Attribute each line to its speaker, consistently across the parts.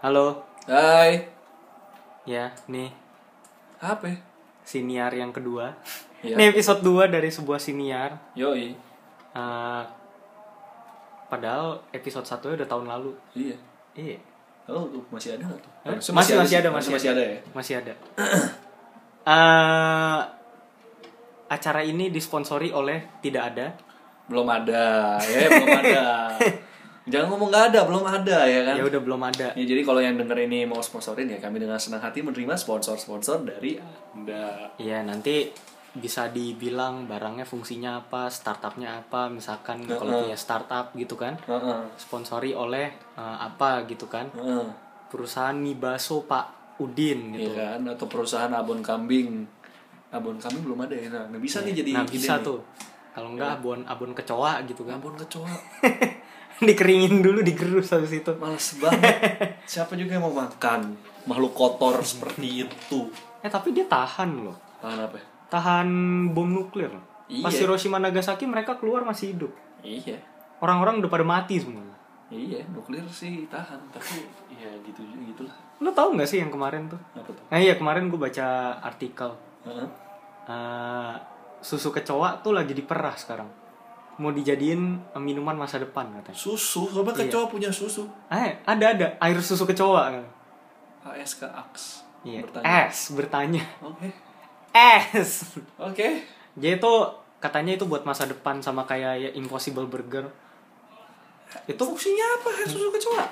Speaker 1: Halo,
Speaker 2: Hai.
Speaker 1: ya nih
Speaker 2: HP.
Speaker 1: siniar yang kedua.
Speaker 2: Iya.
Speaker 1: Ini episode 2 dari sebuah siniar.
Speaker 2: Yoi.
Speaker 1: Eh, padahal episode 1 udah tahun lalu.
Speaker 2: Iya.
Speaker 1: Iya.
Speaker 2: Oh, tuh, masih ada nggak tuh?
Speaker 1: Eh,
Speaker 2: Harusnya
Speaker 1: masih masih ada
Speaker 2: sih.
Speaker 1: masih,
Speaker 2: Harusnya ada. ya.
Speaker 1: Masih ada. Eh, acara ini disponsori oleh tidak ada.
Speaker 2: Belum ada. Ya, belum ada. Jangan ngomong nggak ada, belum ada ya kan.
Speaker 1: Ya udah belum ada.
Speaker 2: Ya, jadi kalau yang denger ini mau sponsorin ya kami dengan senang hati menerima sponsor-sponsor dari Anda.
Speaker 1: Iya, nanti bisa dibilang barangnya fungsinya apa, startupnya apa, misalkan kalau punya startup gitu kan.
Speaker 2: Heeh.
Speaker 1: Sponsori oleh eh, apa gitu kan.
Speaker 2: Heeh.
Speaker 1: perusahaan mie bakso Pak Udin
Speaker 2: Iya
Speaker 1: gitu.
Speaker 2: kan atau perusahaan abon kambing. Abon kambing belum ada ya. Nah, nggak bisa nih jadi
Speaker 1: nah
Speaker 2: ide
Speaker 1: bisa
Speaker 2: nih.
Speaker 1: tuh. Kalau enggak abon abon kecoa gitu kan.
Speaker 2: Abon kecoa.
Speaker 1: Dikeringin dulu digerus habis itu.
Speaker 2: Males banget. Siapa juga yang mau makan makhluk kotor seperti itu?
Speaker 1: Eh tapi dia tahan loh.
Speaker 2: Tahan apa? ya?
Speaker 1: Tahan bom nuklir.
Speaker 2: Iya.
Speaker 1: Pas Hiroshima Nagasaki mereka keluar masih hidup.
Speaker 2: Iya,
Speaker 1: Orang-orang udah pada mati semua.
Speaker 2: iya nuklir sih tahan, tapi ya gitu juga gitulah.
Speaker 1: Lo tau nggak sih yang kemarin tuh?
Speaker 2: Apa tuh?
Speaker 1: Nah iya kemarin gue baca artikel
Speaker 2: Heeh.
Speaker 1: Eh, susu kecoa tuh lagi diperah sekarang. Mau dijadiin eh, minuman masa depan katanya.
Speaker 2: Susu, coba kecoa punya susu.
Speaker 1: Eh ada ada air susu kecoa.
Speaker 2: ASK AX.
Speaker 1: Iya.
Speaker 2: Bertanya.
Speaker 1: S bertanya.
Speaker 2: Oke.
Speaker 1: S.
Speaker 2: Oke.
Speaker 1: Jadi itu katanya itu buat masa depan sama kayak ya, Impossible Burger.
Speaker 2: Itu fungsinya apa air susu kecoa?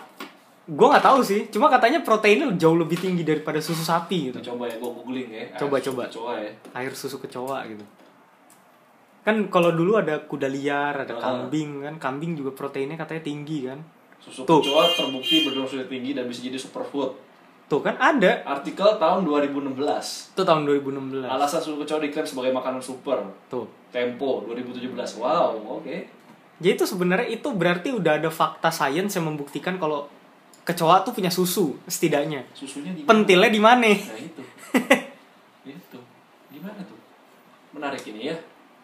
Speaker 1: Gue nggak tahu sih, cuma katanya proteinnya jauh lebih tinggi daripada susu sapi gitu.
Speaker 2: Coba ya, gue googling ya.
Speaker 1: Coba, coba.
Speaker 2: Coba ya.
Speaker 1: Air susu kecoa gitu. Kan kalau dulu ada kuda liar, ada
Speaker 2: Ah.
Speaker 1: kambing kan, kambing juga proteinnya katanya tinggi kan.
Speaker 2: Susu
Speaker 1: Tuh.
Speaker 2: kecoa terbukti berdosisnya tinggi dan bisa jadi superfood.
Speaker 1: Tuh kan ada.
Speaker 2: Artikel tahun 2016.
Speaker 1: Itu tahun 2016.
Speaker 2: Alasan susu kecoa diklaim sebagai makanan super.
Speaker 1: Tuh.
Speaker 2: Tempo 2017. Wow, oke.
Speaker 1: Jadi itu sebenarnya itu berarti udah ada fakta sains yang membuktikan kalau kecoa tuh punya susu setidaknya.
Speaker 2: Susunya di
Speaker 1: Pentilnya di mana?
Speaker 2: Nah itu. itu. Gimana tuh? Menarik ini ya.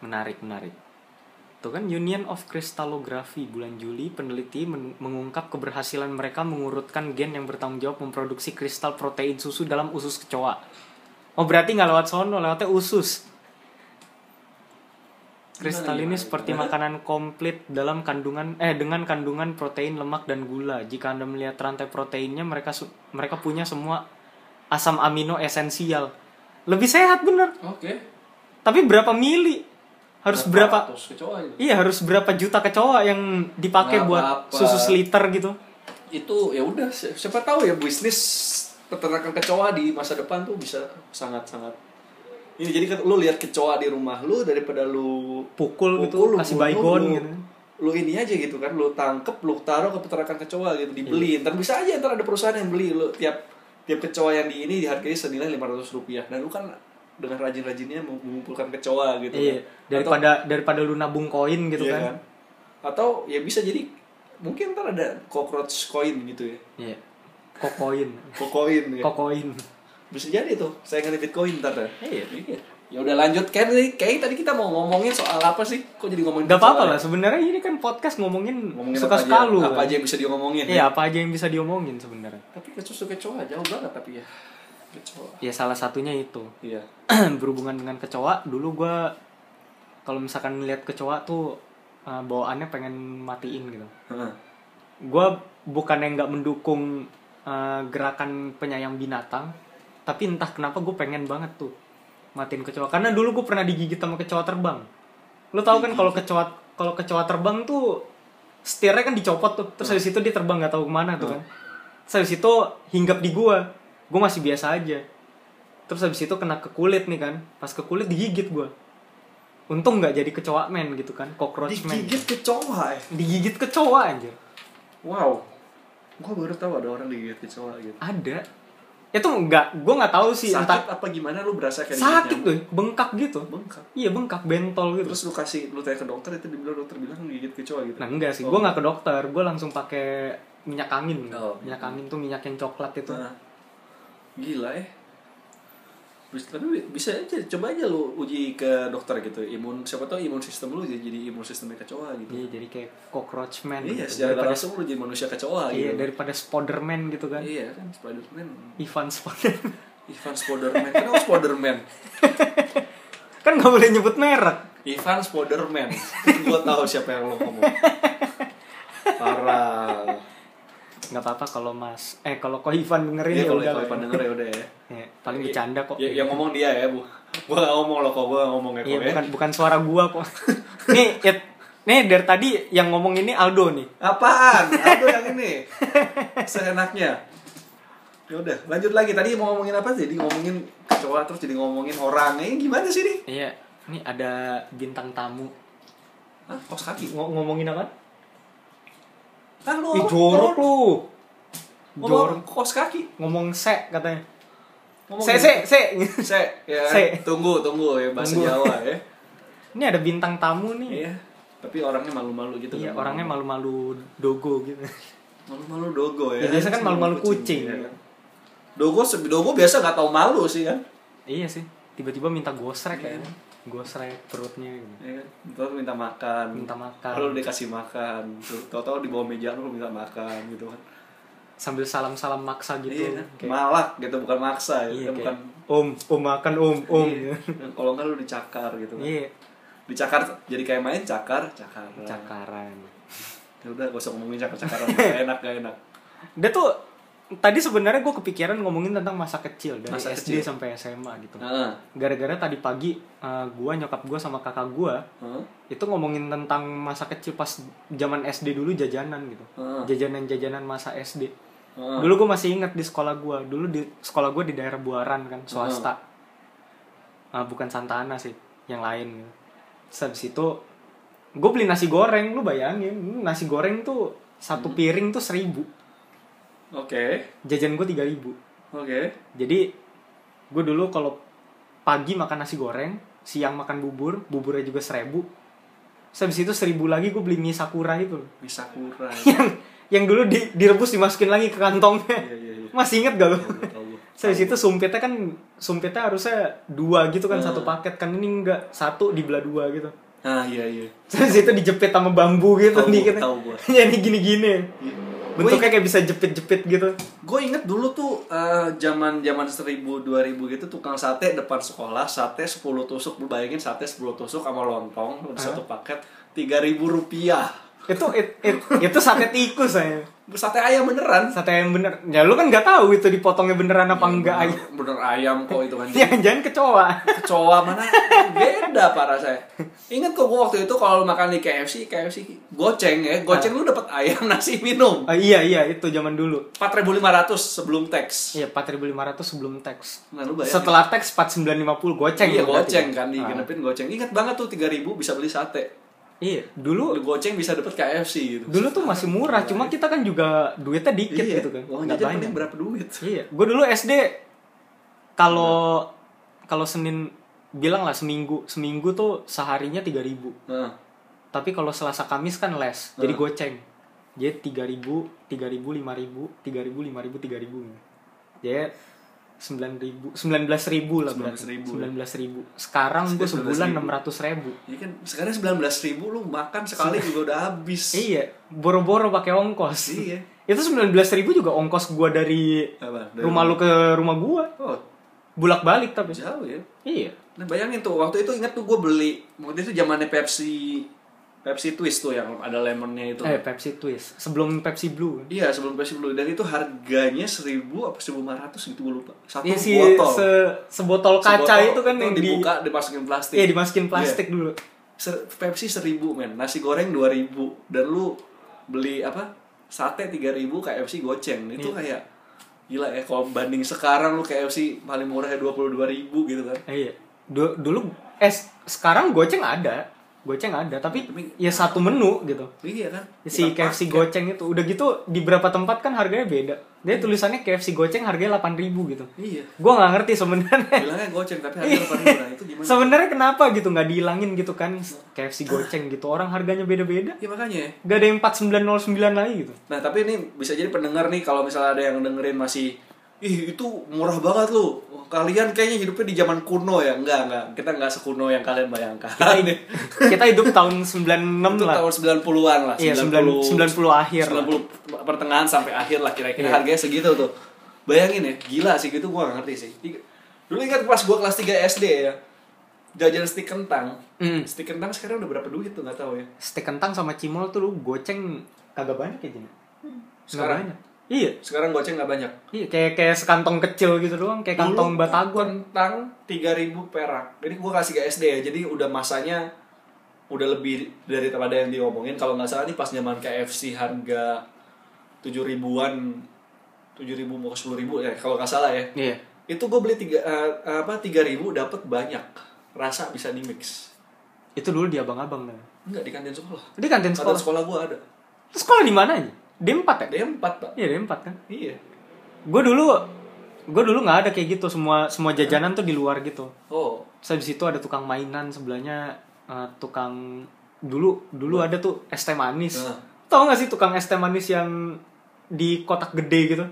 Speaker 1: Menarik, menarik. Tuh kan Union of Crystallography bulan Juli peneliti men- mengungkap keberhasilan mereka mengurutkan gen yang bertanggung jawab memproduksi kristal protein susu dalam usus kecoa. Oh berarti nggak lewat sono, lewatnya usus. Kristal ini
Speaker 2: Gimana, gimana?
Speaker 1: seperti makanan komplit dalam kandungan eh dengan kandungan protein, lemak dan gula. Jika Anda melihat rantai proteinnya mereka su- mereka punya semua asam amino esensial. Lebih sehat bener.
Speaker 2: Oke.
Speaker 1: Tapi berapa mili? Harus berapa?
Speaker 2: Terus kecoa itu.
Speaker 1: Iya, harus berapa juta kecoa yang dipakai
Speaker 2: Nggak
Speaker 1: buat
Speaker 2: apa-apa.
Speaker 1: susu seliter gitu.
Speaker 2: Itu ya udah si- siapa tahu ya bisnis peternakan kecoa di masa depan tuh bisa sangat-sangat ini jadi kan lu lihat kecoa di rumah lu daripada lu
Speaker 1: Pukul gitu,
Speaker 2: pukul, lu
Speaker 1: kasih
Speaker 2: bunuh,
Speaker 1: baygon
Speaker 2: lu-
Speaker 1: gitu.
Speaker 2: lu ini aja gitu kan lu tangkep lu taruh ke peternakan kecoa
Speaker 1: Iya.
Speaker 2: gitu dibeli ntar bisa aja ntar ada perusahaan yang beli lu tiap tiap kecoa yang di ini dihargai senilai 500 rupiah dan lu kan dengan rajin-rajinnya mengumpulkan kecoa gitu
Speaker 1: Iya,
Speaker 2: kan. Atau-
Speaker 1: daripada daripada lu nabung koin gitu
Speaker 2: Iya
Speaker 1: kan.
Speaker 2: kan? Atau ya bisa jadi mungkin ntar ada cockroach coin gitu ya.
Speaker 1: Iya. Kokoin.
Speaker 2: Kokoin ya.
Speaker 1: Kokoin.
Speaker 2: Bisa jadi tuh. Saya nge Bitcoin ntar ya.
Speaker 1: Iya.
Speaker 2: Ya udah lanjut Ken nih. Kayaknya tadi kita mau ngomongin soal apa sih? Kok jadi ngomongin
Speaker 1: Gak apa-apa
Speaker 2: soal-
Speaker 1: lah, sebenarnya ini kan podcast ngomongin,
Speaker 2: Ngomongin
Speaker 1: suka
Speaker 2: apa aja,
Speaker 1: sekalu.
Speaker 2: Apa
Speaker 1: kan.
Speaker 2: aja yang bisa diomongin.
Speaker 1: Iya, apa aja yang bisa diomongin sebenarnya.
Speaker 2: Tapi kecuali kecoa jauh banget tapi ya. Kecoa.
Speaker 1: Ya salah satunya itu.
Speaker 2: Iya.
Speaker 1: Berhubungan dengan kecoa, dulu gua kalau misalkan lihat kecoa tuh eh, bawaannya pengen matiin gitu.
Speaker 2: Heeh.
Speaker 1: gue bukannya nggak mendukung eh, gerakan penyayang binatang tapi entah kenapa gue pengen banget tuh matiin kecoa karena dulu gue pernah digigit sama kecoa terbang lo tau kan kalau kecoa kalau kecoa terbang tuh setirnya kan dicopot tuh terus dari situ dia terbang nggak tahu kemana tuh kan terus habis itu hinggap di gue gue masih biasa aja terus habis itu kena ke kulit nih kan pas ke kulit digigit gue untung nggak jadi kecoa men gitu kan cockroach man
Speaker 2: Digigit kecoa ya.
Speaker 1: digigit kecoa anjir
Speaker 2: Wow. Gua baru tahu ada orang digigit kecoa gitu.
Speaker 1: ada itu nggak gue nggak tahu sih
Speaker 2: Sakit
Speaker 1: entah
Speaker 2: apa gimana lu berasa kayak
Speaker 1: sakit
Speaker 2: digigit
Speaker 1: tuh bengkak gitu
Speaker 2: nyamuk? Bengkak.
Speaker 1: iya bengkak bentol gitu
Speaker 2: Terus lu kasih lu tanya ke dokter itu dibilang dokter bilang gigit kecoa gitu.
Speaker 1: nah enggak sih
Speaker 2: Oh.
Speaker 1: gue nggak ke dokter gue langsung pakai minyak angin
Speaker 2: Oh. Ah.
Speaker 1: minyak angin tuh minyak yang coklat itu
Speaker 2: Nah, gila ya. Bis- Tapi eh. bisa aja, coba aja lu uji ke dokter gitu. Imun siapa tahu imun sistem lu jadi, jadi imun sistemnya kecoa gitu.
Speaker 1: Iya, jadi kayak cockroach man gitu.
Speaker 2: Iya, secara nggak
Speaker 1: daripada,
Speaker 2: langsung lu jadi manusia kecoa
Speaker 1: iya,
Speaker 2: gitu.
Speaker 1: daripada Spiderman gitu kan.
Speaker 2: Iya kan Spiderman.
Speaker 1: Ivan Spiderman.
Speaker 2: Ivan Spoderman. Kenapa Spoderman?
Speaker 1: kan nggak boleh nyebut merek.
Speaker 2: Ivan Spoderman. Gue tahu siapa yang lo ngomong. Parah.
Speaker 1: nggak apa-apa kalau Mas eh kalau kok Ivan dengerin
Speaker 2: Iya
Speaker 1: ya
Speaker 2: kalau
Speaker 1: udah.
Speaker 2: Ivan
Speaker 1: lah.
Speaker 2: denger ya udah ya.
Speaker 1: Ya, paling bercanda kok.
Speaker 2: Ya, yang ngomong dia ya, Bu. Gua gak ngomong loh kok, gua gak ngomong ya kok
Speaker 1: Iya,
Speaker 2: ya.
Speaker 1: bukan bukan suara gua kok. nih, It, nih dari tadi yang ngomong ini Aldo nih.
Speaker 2: Apaan? Aku yang ini. Seenaknya. Ya udah, lanjut lagi. Tadi mau ngomongin apa sih? Jadi ngomongin kecoa terus jadi ngomongin orang. Ini gimana sih nih?
Speaker 1: Iya, ini ada bintang tamu.
Speaker 2: Hah, kos kaki.
Speaker 1: Ngo- ngomongin apa?
Speaker 2: Kan lu
Speaker 1: Ih, jorok lu.
Speaker 2: oh.
Speaker 1: Jorok.
Speaker 2: Ngomong kos kaki.
Speaker 1: Ngomong se katanya.
Speaker 2: Ngomong
Speaker 1: Se se se.
Speaker 2: Se, ya.
Speaker 1: Se.
Speaker 2: Tunggu, tunggu ya bahasa
Speaker 1: Tunggu.
Speaker 2: Jawa ya.
Speaker 1: Ini ada bintang tamu nih.
Speaker 2: Iya. Tapi orangnya malu-malu gitu
Speaker 1: Iya, orangnya malu-malu dogo gitu.
Speaker 2: malu-malu dogo ya.
Speaker 1: Ya, biasa kan malu-malu kucing.
Speaker 2: ya kan? Dogo se- dogo biasa nggak tahu malu sih kan.
Speaker 1: iya sih. Tiba-tiba minta gosrek
Speaker 2: Iya.
Speaker 1: kayaknya. Gosrek perutnya gitu.
Speaker 2: Ya kan? Terus minta makan.
Speaker 1: Minta makan.
Speaker 2: Lalu dikasih makan. Terus Tahu-tahu di bawah meja lu minta makan gitu kan.
Speaker 1: Sambil salam-salam maksa gitu.
Speaker 2: Iya kan?
Speaker 1: Kayak-
Speaker 2: Malak gitu bukan maksa ya.
Speaker 1: Iya,
Speaker 2: Kan
Speaker 1: kayak,
Speaker 2: bukan
Speaker 1: om, om makan om, om.
Speaker 2: Iya. Kalau enggak lu dicakar gitu kan.
Speaker 1: Iya,
Speaker 2: Dicakar jadi kayak main cakar, cakar.
Speaker 1: cakaran.
Speaker 2: Ya udah gak usah ngomongin cakar-cakaran. Gak enak, gak enak.
Speaker 1: Dia tuh tadi sebenarnya gue kepikiran ngomongin tentang masa kecil dari
Speaker 2: Masa
Speaker 1: SD
Speaker 2: kecil.
Speaker 1: sampai SMA gitu.
Speaker 2: Heeh.
Speaker 1: Gara-gara tadi pagi eh, gua nyokap gua sama kakak gua
Speaker 2: Heeh.
Speaker 1: itu ngomongin tentang masa kecil pas zaman SD dulu jajanan gitu.
Speaker 2: Heeh.
Speaker 1: Jajanan-jajanan masa SD.
Speaker 2: Heeh.
Speaker 1: Dulu gue masih inget di sekolah gua Dulu di sekolah gua di daerah Buaran kan, swasta. Ah, bukan Santana sih, yang lain. gitu. Terus habis itu gue beli nasi goreng, lu bayangin nasi goreng tuh satu
Speaker 2: Hmm.
Speaker 1: piring tuh seribu,
Speaker 2: Oke.
Speaker 1: jajan gue tiga ribu.
Speaker 2: Oke.
Speaker 1: Jadi gue dulu kalau pagi makan nasi goreng, siang makan bubur, buburnya juga seribu. Terus habis itu seribu lagi gue beli mie sakura itu, loh.
Speaker 2: Bisa kurang.
Speaker 1: yang yang dulu di- direbus dimasukin lagi ke kantongnya.
Speaker 2: Iya, iya, iya.
Speaker 1: Masih inget gak lo?
Speaker 2: Tahu, tahu.
Speaker 1: Saya situ sumpitnya kan sumpitnya harusnya dua gitu kan satu paket kan ini enggak satu dibelah dua gitu.
Speaker 2: Ah, iya, iya.
Speaker 1: Terus itu dijepit sama bambu gitu
Speaker 2: Tahu,
Speaker 1: dikit.
Speaker 2: tahu gua.
Speaker 1: Jadi gini-gini.
Speaker 2: Iya.
Speaker 1: Bentuknya kayak bisa jepit-jepit gitu.
Speaker 2: Gue inget dulu tuh eh, zaman zaman 1000 2000 gitu tukang sate depan sekolah sate 10 tusuk lu bayangin sate 10 tusuk sama lontong udah satu paket 3000 rupiah
Speaker 1: Itu it- it- itu sate tikus saya.
Speaker 2: sate ayam beneran
Speaker 1: Sate yang bener. Ya lu kan nggak tahu itu dipotongnya beneran apa enggak.
Speaker 2: Iya,
Speaker 1: Iya.
Speaker 2: bener, bener ayam kok itu kan
Speaker 1: Jangan-jangan kecoa.
Speaker 2: kecoa mana beda para saya inget kok gue waktu itu kalau lu makan di KFC KFC goceng ya goceng lu dapat ayam nasi minum
Speaker 1: Ah, iya iya itu zaman dulu.
Speaker 2: 4500 sebelum teks
Speaker 1: Iya 4.500 sebelum teks.
Speaker 2: nah lu bayangin
Speaker 1: Setelah teks 4950 goceng.
Speaker 2: iya
Speaker 1: ya berarti.
Speaker 2: goceng kan
Speaker 1: Ah.
Speaker 2: digenepin goceng ingat banget tuh 3000 bisa beli sate
Speaker 1: Iya, dulu
Speaker 2: Lu goceng bisa dapet KFC gitu.
Speaker 1: Dulu tuh masih murah, cuma kita kan juga duitnya dikit gitu kan.
Speaker 2: Uang
Speaker 1: Nggak
Speaker 2: jajan
Speaker 1: banyak.
Speaker 2: Iya, paling Oh, berapa duit?
Speaker 1: Iya. Gue dulu SD kalau
Speaker 2: Iya.
Speaker 1: kalau Senin bilang lah seminggu, seminggu tuh seharinya 3000.
Speaker 2: Heeh.
Speaker 1: Tapi kalau Selasa Kamis kan les, jadi goceng. Jadi 3000, 3000, 5000, 3000, 5000, 3000. Jadi 9000, 19000 lah berarti.
Speaker 2: 19.000.
Speaker 1: 19000. Sekarang gue sebulan 600.000.
Speaker 2: Ya kan sekarang 19 ribu lu makan sekali juga udah habis.
Speaker 1: Iya, boro-boro pakai ongkos.
Speaker 2: Iya.
Speaker 1: Itu 19.000 juga ongkos gua dari
Speaker 2: Apa? Dari
Speaker 1: rumah lu ke rumah gua.
Speaker 2: Oh,
Speaker 1: Bolak-balik tapi.
Speaker 2: jauh ya.
Speaker 1: Iya.
Speaker 2: Nah, bayangin tuh waktu itu ingat tuh gue beli waktu itu zamannya Pepsi Pepsi Twist tuh yang ada lemonnya itu.
Speaker 1: Eh, Pepsi Twist. Sebelum Pepsi Blue.
Speaker 2: Iya, sebelum Pepsi dulu dan itu harganya 1000 apa 1500 gitu gue lupa. Satu
Speaker 1: Iya si
Speaker 2: botol.
Speaker 1: se, sebotol kaca
Speaker 2: Sebotol
Speaker 1: itu kan yang di-
Speaker 2: dibuka dimasukin plastik.
Speaker 1: Iya, dimasukin plastik dulu.
Speaker 2: Ser- Pepsi seribu men, nasi goreng dua ribu, dan lu beli apa sate tiga ribu KFC goceng itu
Speaker 1: Iya.
Speaker 2: kayak gila ya kalau banding sekarang lu KFC paling murah ya dua ribu gitu kan
Speaker 1: Eh, iya. Du- dulu eh s- sekarang goceng ada. Goceng ada, tapi
Speaker 2: Tapi-
Speaker 1: ya satu menu gitu.
Speaker 2: iya kan
Speaker 1: Si
Speaker 2: Bukan
Speaker 1: KFC
Speaker 2: paket.
Speaker 1: goceng itu udah gitu di beberapa tempat kan harganya beda. Dia tulisannya KFC goceng harganya 8000 gitu.
Speaker 2: iya
Speaker 1: Gua nggak ngerti sebenarnya.
Speaker 2: bilangnya goceng tapi harga delapan ribu nah itu gimana
Speaker 1: Sebenarnya kenapa gitu nggak dihilangin gitu kan KFC goceng gitu orang harganya beda-beda.
Speaker 2: ya makanya ya.
Speaker 1: Gak ada yang 4909 lagi gitu.
Speaker 2: nah tapi ini bisa jadi pendengar nih kalau misalnya ada yang dengerin masih ih itu murah banget lu kalian kayaknya hidupnya di zaman kuno ya enggak enggak kita enggak sekuno yang kalian bayangkan
Speaker 1: Kita, hid- kita hidup tahun 96
Speaker 2: itu
Speaker 1: lah.
Speaker 2: tahun 90-an lah
Speaker 1: Iya, 90 akhir lah.
Speaker 2: 90 pertengahan sampai akhir lah kira-kira
Speaker 1: Iya.
Speaker 2: harganya segitu tuh bayangin ya gila sih gitu gua gak ngerti sih dulu ingat pas gua kelas 3 SD ya jajan stik kentang
Speaker 1: Mm.
Speaker 2: stik kentang sekarang udah berapa duit tuh nggak tahu ya
Speaker 1: Stek kentang sama cimol tuh lu goceng kagak banyak ya Jin? Nggak
Speaker 2: Sekarang?
Speaker 1: banyak. Iya.
Speaker 2: sekarang goceng nggak banyak
Speaker 1: Iya, kayak kayak sekantong kecil gitu doang, kayak kantong
Speaker 2: Dulu
Speaker 1: batagor.
Speaker 2: kentang 3000 perak jadi gua kasih ke SD ya jadi udah masanya udah lebih dari daripada yang diomongin kalau nggak salah nih pas zaman KFC harga 7 ribuan 7 ribu mau ke 10 ribu ya kalau nggak salah ya
Speaker 1: Iya.
Speaker 2: itu gue beli tiga eh, apa tiga ribu dapat banyak rasa bisa di mix
Speaker 1: Itu dulu di abang-abang kan.
Speaker 2: enggak di kantin sekolah
Speaker 1: Di kantin
Speaker 2: kantin
Speaker 1: sekolah.
Speaker 2: sekolah gue ada
Speaker 1: Terus sekolah di mana aja? D4 ya?
Speaker 2: ada yang empat pak
Speaker 1: Iya, D4 kan.
Speaker 2: iya
Speaker 1: Gue dulu gue dulu nggak ada kayak gitu, semua semua jajanan tuh di luar gitu.
Speaker 2: oh
Speaker 1: Terus habis itu ada tukang mainan sebelahnya eh, tukang dulu dulu ada tuh es teh manis.
Speaker 2: Heeh.
Speaker 1: Tau gak sih tukang es teh manis yang di kotak gede gitu?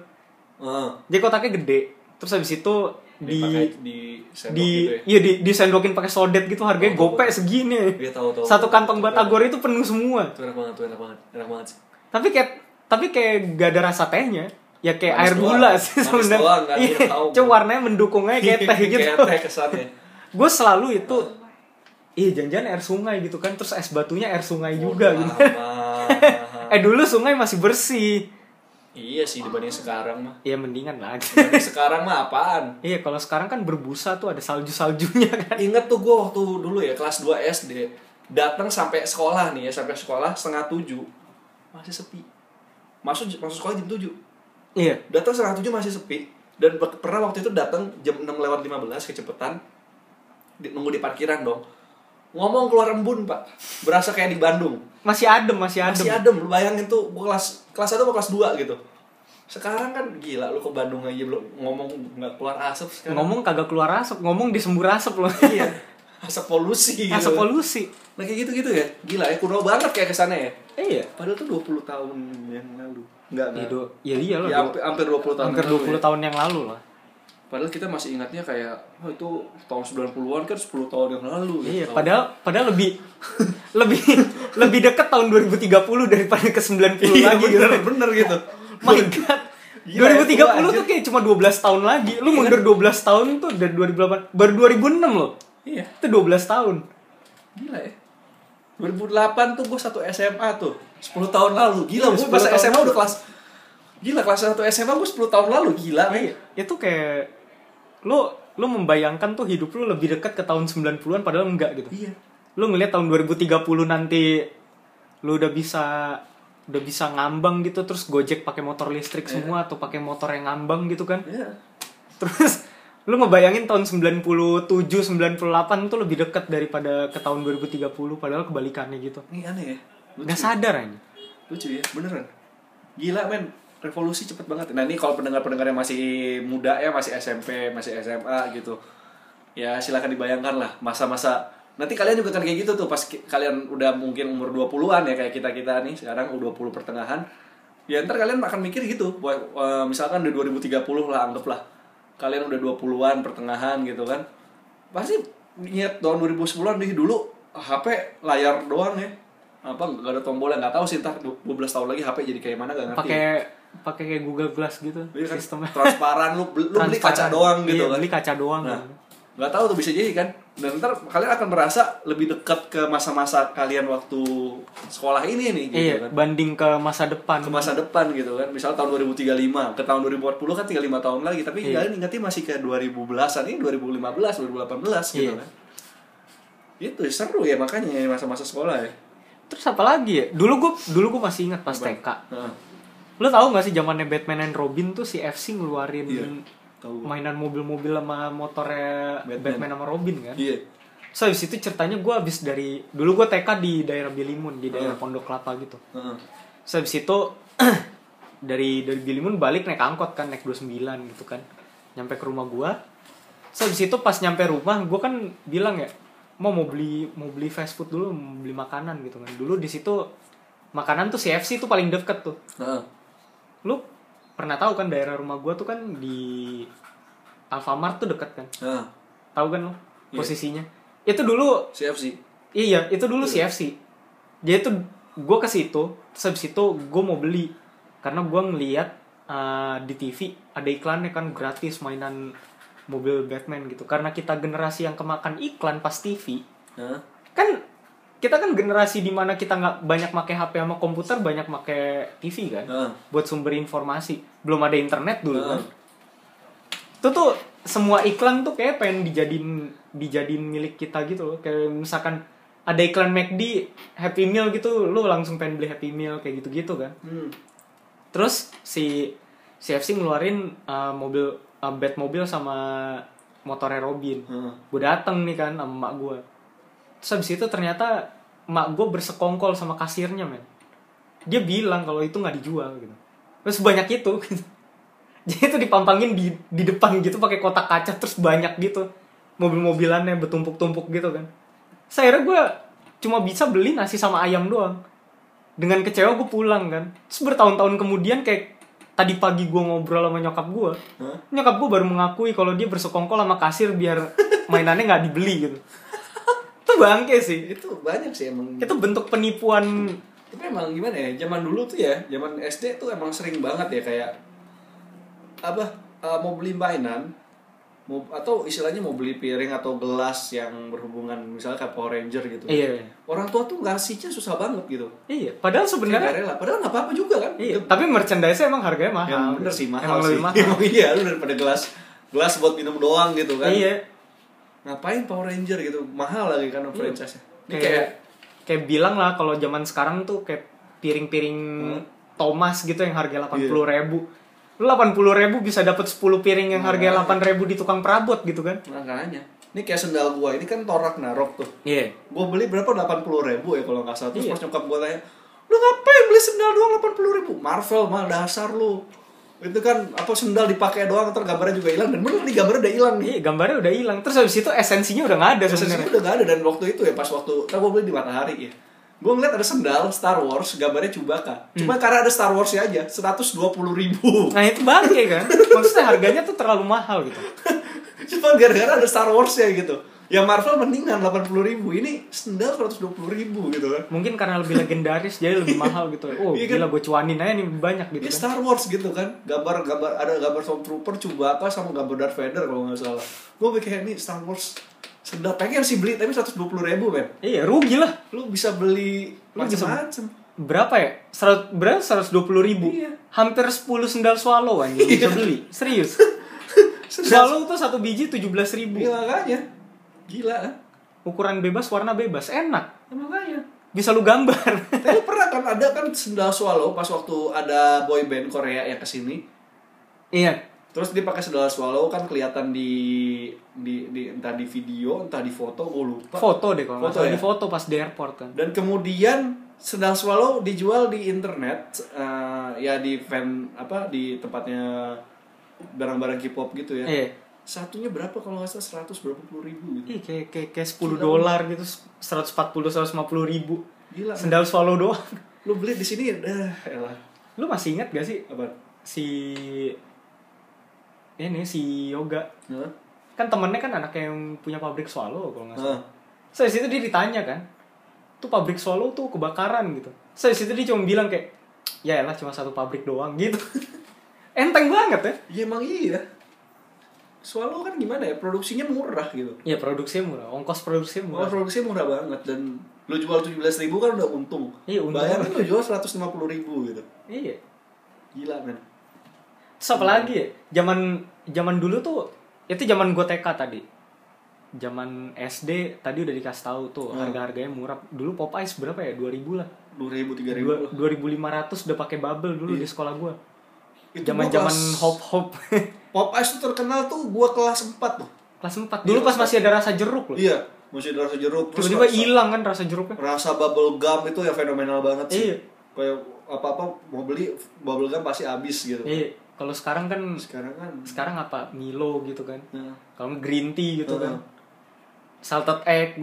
Speaker 2: eh,
Speaker 1: Jadi kotaknya gede. Terus habis itu di
Speaker 2: dipakai di sendok
Speaker 1: di
Speaker 2: gitu ya
Speaker 1: iya di disendokin pakai sodet gitu harganya
Speaker 2: Tahu, tahu,
Speaker 1: gopek
Speaker 2: tahu.
Speaker 1: segini.
Speaker 2: Iya, tahu, tahu,
Speaker 1: Satu
Speaker 2: tahu.
Speaker 1: kantong
Speaker 2: Tahu, tahu.
Speaker 1: batagor itu penuh semua.
Speaker 2: itu enak banget tuh enak banget enak banget sih
Speaker 1: Tapi kayak tapi kayak gak ada rasa tehnya. Ya kayak
Speaker 2: Manis
Speaker 1: air
Speaker 2: doang.
Speaker 1: gula sih
Speaker 2: Manis doang,
Speaker 1: sebenarnya. Iya,
Speaker 2: nggak ada yang tahu.
Speaker 1: Cuma warnanya mendukung aja kayak teh gitu.
Speaker 2: kayak teh kesannya
Speaker 1: Gue selalu itu Ih, janjian air sungai gitu kan, terus es batunya air sungai
Speaker 2: ah.
Speaker 1: juga gitu.
Speaker 2: gitu
Speaker 1: Eh dulu sungai masih bersih.
Speaker 2: iya sih dibanding sekarang mah
Speaker 1: Ya mendingan lah.
Speaker 2: Dibanding sekarang mah apaan
Speaker 1: Iya kalau sekarang kan berbusa tuh ada salju-saljunya kan.
Speaker 2: Ingat tuh gue waktu dulu ya kelas 2 SD datang sampai sekolah nih ya sampai sekolah setengah tujuh masih sepi masuk masuk sekolah jam tujuh
Speaker 1: Iya.
Speaker 2: datang setengah tujuh masih sepi dan pe- pernah waktu itu datang jam 6 lewat 15 kecepetan di, nunggu di parkiran dong ngomong keluar embun pak berasa kayak di Bandung
Speaker 1: Masih adem, masih adem.
Speaker 2: masih adem lu bayangin tuh gue kelas kelas satu apa kelas 2 gitu sekarang kan gila lu ke Bandung aja belum ngomong nggak keluar asap sekarang
Speaker 1: Ngomong kagak keluar asap, ngomong disembur asap loh.
Speaker 2: iya asap polusi gitu.
Speaker 1: Asap polusi.
Speaker 2: Nah kayak gitu-gitu ya. Gila ya, kuno banget kayak kesannya ya.
Speaker 1: Iya.
Speaker 2: Padahal tuh 20 tahun yang lalu. Enggak,
Speaker 1: Ya, do- ya iya loh.
Speaker 2: Ya,
Speaker 1: do-
Speaker 2: hampir, hampir 20 tahun
Speaker 1: Hampir
Speaker 2: yang
Speaker 1: 20
Speaker 2: lalu ya.
Speaker 1: tahun yang lalu lah.
Speaker 2: Padahal kita masih ingatnya kayak, oh itu tahun 90-an kan 10 tahun yang lalu. gitu.
Speaker 1: Iya,
Speaker 2: Tahun-
Speaker 1: padahal padahal lebih lebih lebih deket tahun 2030 daripada ke 90
Speaker 2: Iya,
Speaker 1: lagi gitu.
Speaker 2: bener, bener gitu.
Speaker 1: My god.
Speaker 2: Gila,
Speaker 1: 2030
Speaker 2: ya, tua,
Speaker 1: tuh
Speaker 2: anjir. Iya.
Speaker 1: kayak cuma 12 tahun lagi. Lu mundur 12 tahun tuh dari 2008 baru 2006 loh.
Speaker 2: Iya,
Speaker 1: Itu 12 tahun.
Speaker 2: gila ya. 2008 tuh gue satu SMA tuh. 10 tahun lalu. Gila,
Speaker 1: Iya,
Speaker 2: gue
Speaker 1: 10
Speaker 2: pas
Speaker 1: tahun
Speaker 2: SMA
Speaker 1: lalu.
Speaker 2: udah kelas Gila, kelas 1 SMA gue 10 tahun lalu. Gila, men.
Speaker 1: Itu kayak lu lu membayangkan tuh hidup lu lebih dekat ke tahun 90-an padahal enggak gitu.
Speaker 2: Iya.
Speaker 1: Lu ngelihat tahun 2030 nanti lu udah bisa udah bisa ngambang gitu terus Gojek pakai motor listrik semua atau pakai motor yang ngambang gitu kan.
Speaker 2: Iya.
Speaker 1: Terus lu ngebayangin tahun 97 98 tuh lebih dekat daripada ke tahun 2030 padahal kebalikannya gitu.
Speaker 2: Ini aneh ya. Lucu.
Speaker 1: Nggak sadar aja.
Speaker 2: lucu ya beneran gila men revolusi cepet banget nah ini kalau pendengar-pendengar yang masih muda ya masih SMP masih SMA gitu ya silahkan dibayangkan lah masa-masa nanti kalian juga kan kayak gitu tuh pas ki- kalian udah mungkin umur 20-an ya kayak kita-kita nih sekarang u 20 pertengahan ya ntar kalian akan mikir gitu Wah, eh, misalkan udah 2030 lah anggaplah kalian udah 20-an pertengahan gitu kan pasti niat tahun 2010-an nih dulu HP layar doang ya apa nggak ada tombolnya nggak tahu sih entah 12 tahun lagi HP jadi kayak mana nggak ngerti
Speaker 1: Pakai pakai kayak Google Glass gitu
Speaker 2: Iya kan,
Speaker 1: sistemnya.
Speaker 2: transparan lu, beli- lu beli
Speaker 1: Transparan.
Speaker 2: kaca doang gitu
Speaker 1: Iya,
Speaker 2: kan
Speaker 1: beli kaca doang
Speaker 2: Nah,
Speaker 1: kan.
Speaker 2: nggak tahu tuh bisa jadi kan. Dan ntar kalian akan merasa lebih dekat ke masa-masa kalian waktu sekolah ini nih gitu
Speaker 1: iya
Speaker 2: kan.
Speaker 1: banding ke masa depan
Speaker 2: Ke masa depan gitu kan. Misal tahun 2035 ke tahun 2040 kan tinggal 5 tahun lagi, tapi
Speaker 1: Iya.
Speaker 2: kalian ingatnya masih ke 2010-an ini 2015, 2018 gitu
Speaker 1: Iya.
Speaker 2: kan. Itu seru ya makanya ya, masa-masa sekolah ya.
Speaker 1: terus apa lagi ya dulu gue dulu gue masih ingat pas TK
Speaker 2: Heeh.
Speaker 1: lo tau gak sih zamannya Batman and Robin tuh si FC ngeluarin
Speaker 2: Iya, tahu gua.
Speaker 1: mainan mobil-mobil sama motornya
Speaker 2: Batman.
Speaker 1: Batman, sama Robin kan
Speaker 2: Iya.
Speaker 1: so abis itu ceritanya gue abis dari dulu gue TK di daerah Bilimun di daerah
Speaker 2: Hmm.
Speaker 1: Pondok Kelapa gitu
Speaker 2: Heeh.
Speaker 1: so abis itu dari dari Bilimun balik naik angkot kan naik 29 gitu kan nyampe ke rumah gue so abis itu pas nyampe rumah gue kan bilang ya mau mau beli mau beli fast food dulu mau beli makanan gitu kan dulu di situ makanan tuh CFC tuh paling deket tuh
Speaker 2: Heeh.
Speaker 1: lu pernah tahu kan daerah rumah gua tuh kan di Alfamart tuh deket kan
Speaker 2: Nah,
Speaker 1: tahu kan lo
Speaker 2: Iya.
Speaker 1: posisinya itu dulu
Speaker 2: CFC.
Speaker 1: iya itu dulu CFC jadi itu gue ke situ terus habis itu gue mau beli karena gue ngeliat eh, di TV ada iklannya kan gratis mainan mobil Batman gitu karena kita generasi yang kemakan iklan pas TV
Speaker 2: Nah,
Speaker 1: kan kita kan generasi dimana kita nggak banyak pakai HP sama komputer banyak pakai TV kan
Speaker 2: nah.
Speaker 1: buat sumber informasi belum ada internet dulu kan
Speaker 2: Heeh.
Speaker 1: itu tuh semua iklan tuh kayak pengen dijadiin dijadiin milik kita gitu loh kayak misalkan ada iklan McD Happy Meal gitu lu langsung pengen beli Happy Meal kayak gitu-gitu kan
Speaker 2: Hmm.
Speaker 1: terus si CFC ngeluarin uh, mobil uh, Batmobile sama motornya Robin
Speaker 2: Heeh.
Speaker 1: gue dateng nih kan sama emak gue terus habis itu ternyata emak gue bersekongkol sama kasirnya men dia bilang kalau itu nggak dijual gitu terus banyak itu gitu. jadi itu dipampangin di di depan gitu pakai kotak kaca terus banyak gitu mobil-mobilannya bertumpuk-tumpuk gitu kan saya akhirnya gue cuma bisa beli nasi sama ayam doang dengan kecewa gue pulang kan terus bertahun-tahun kemudian kayak tadi pagi gue ngobrol sama nyokap gue
Speaker 2: Hah?
Speaker 1: nyokap gue baru mengakui kalau dia bersekongkol sama kasir biar mainannya nggak dibeli gitu itu bangke sih
Speaker 2: Itu banyak sih emang.
Speaker 1: itu bentuk penipuan
Speaker 2: tapi emang gimana ya zaman dulu tuh ya zaman SD tuh emang sering banget ya kayak apa eh, mau beli mainan mau atau istilahnya mau beli piring atau gelas yang berhubungan misalnya kayak Power Ranger gitu
Speaker 1: iya
Speaker 2: orang tua tuh ngasihnya susah banget gitu
Speaker 1: iya padahal
Speaker 2: Nggak
Speaker 1: sebenarnya
Speaker 2: rela padahal nggak apa-apa juga kan
Speaker 1: iya tapi merchandise emang harganya mahal
Speaker 2: Emang bener sih mahal
Speaker 1: emang
Speaker 2: sih
Speaker 1: lebih mahal
Speaker 2: Emang iya lu daripada gelas gelas buat minum doang gitu kan
Speaker 1: iya
Speaker 2: ngapain Power Ranger gitu mahal lagi kan franchise-nya ini kayak
Speaker 1: kayak kayak bilang lah kalau zaman sekarang tuh kayak piring-piring
Speaker 2: Hmm.
Speaker 1: Thomas gitu yang
Speaker 2: Iya.
Speaker 1: harga delapan puluh ribu lu delapan puluh ribu bisa dapat 10 piring yang
Speaker 2: Nah.
Speaker 1: harga delapan ribu di tukang perabot gitu kan
Speaker 2: makanya ini kayak sendal gua ini kan torak narok tuh
Speaker 1: iya
Speaker 2: gue beli berapa 80 ribu ya kalau nggak salah terus pas nyokap gue tanya lu ngapain beli sendal doang 80 ribu Marvel mah dasar lu itu kan apa sendal dipakai doang ntar gambarnya juga hilang dan bener nih gambarnya udah hilang nih
Speaker 1: Iya, gambarnya udah hilang. Terus habis itu esensinya udah nggak ada
Speaker 2: Esensinya
Speaker 1: sebenarnya.
Speaker 2: udah gak ada dan waktu itu ya pas waktu kan gue beli di matahari ya gue ngeliat ada sendal Star Wars gambarnya Chewbacca cuma karena ada Star Wars ya aja 120 ribu
Speaker 1: Nah itu bangke kan? Maksudnya harganya tuh terlalu mahal gitu.
Speaker 2: cuma gara-gara ada Star Wars ya gitu ya Marvel mendingan 80 ribu ini sendal 120 ribu gitu kan
Speaker 1: Mungkin karena lebih legendaris jadi lebih mahal gitu. Oh
Speaker 2: Iya kan?
Speaker 1: gila gue cuanin aja nih banyak gitu
Speaker 2: Ini
Speaker 1: kan.
Speaker 2: Star Wars gitu kan, gambar gambar ada gambar Stormtrooper, Chewbacca sama gambar Darth Vader kalau nggak salah. Gue pikir ini Star Wars sedap pengen sih beli tapi 120 ribu men.
Speaker 1: Iya rugi lah.
Speaker 2: Lu bisa beli
Speaker 1: Lu bisa-
Speaker 2: macam-macam.
Speaker 1: Berapa ya? Serat, berapa? 120 ribu.
Speaker 2: Iya.
Speaker 1: Hampir 10 sendal swallow anjing bisa beli. Serius. swallow tuh satu biji 17 ribu.
Speaker 2: Gila Iya, makanya. Gila. kan?
Speaker 1: Ukuran bebas, warna bebas. Enak.
Speaker 2: Ya, makanya.
Speaker 1: Bisa lu gambar.
Speaker 2: Tapi pernah kan ada kan sendal swallow pas waktu ada boy band Korea yang kesini.
Speaker 1: iya.
Speaker 2: Terus dia pakai sendal swallow kan kelihatan di, di di entah di video entah di foto gue lupa.
Speaker 1: Foto deh kalau nggak
Speaker 2: Foto
Speaker 1: salah.
Speaker 2: ya?
Speaker 1: Di foto pas di airport kan.
Speaker 2: dan kemudian sedang swallow dijual di internet eh, ya di fan apa di tempatnya barang-barang K-pop gitu ya
Speaker 1: Iya.
Speaker 2: satunya berapa kalau nggak salah 100 berapa puluh ribu gitu
Speaker 1: Ih, kayak, kayak, kayak 10 dolar gitu, 140-150 ribu.
Speaker 2: gila
Speaker 1: Sendal swallow doang.
Speaker 2: lu beli di sini ya? dah elah
Speaker 1: Lu masih ingat gak sih
Speaker 2: apa
Speaker 1: si... Ini si Yoga.
Speaker 2: Hah?
Speaker 1: Kan temennya kan anak yang punya pabrik swallow kalau nggak salah.
Speaker 2: Hah?
Speaker 1: So, dari situ dia ditanya kan, tuh pabrik swallow tuh kebakaran gitu. So, dari situ dia cuma bilang kayak, ya elah cuma satu pabrik doang gitu. Enteng banget ya.
Speaker 2: ya emang iya swallow kan gimana ya produksinya murah gitu
Speaker 1: Ya produksinya murah, ongkos produksinya
Speaker 2: Wah,
Speaker 1: murah.
Speaker 2: produksinya murah banget dan lu jual 17.000 ribu kan udah untung
Speaker 1: Iya, untung.
Speaker 2: bayangin lu jual 150 ribu gitu
Speaker 1: Iya.
Speaker 2: gila men
Speaker 1: Terus apa lagi ya? Zaman zaman dulu tuh itu zaman gue TK tadi. Zaman SD tadi udah dikasih tahu tuh
Speaker 2: Hmm.
Speaker 1: harga-harganya murah. Dulu Popeyes berapa ya? 2000 lah.
Speaker 2: 2.000 ribu tiga ribu
Speaker 1: Dua- 2500 udah pakai bubble dulu di sekolah gue.
Speaker 2: Itu
Speaker 1: Zaman-zaman
Speaker 2: gua kelas-
Speaker 1: hop-hop.
Speaker 2: Pop Ice tuh terkenal tuh gua kelas 4 tuh.
Speaker 1: Kelas 4. Dulu pas masih ada rasa jeruk loh.
Speaker 2: Iya, masih ada rasa jeruk. Terus
Speaker 1: Tiba-tiba
Speaker 2: rasa-
Speaker 1: hilang kan rasa jeruknya.
Speaker 2: Rasa bubble gum itu ya fenomenal banget sih.
Speaker 1: Iya.
Speaker 2: Kayak apa-apa mau beli bubble gum pasti habis gitu.
Speaker 1: Iya. Kalau sekarang kan
Speaker 2: Sekarang kan
Speaker 1: sekarang apa? Milo gitu kan.
Speaker 2: nah,
Speaker 1: Kalau nggak green tea gitu
Speaker 2: Hmm.
Speaker 1: kan. Salted egg.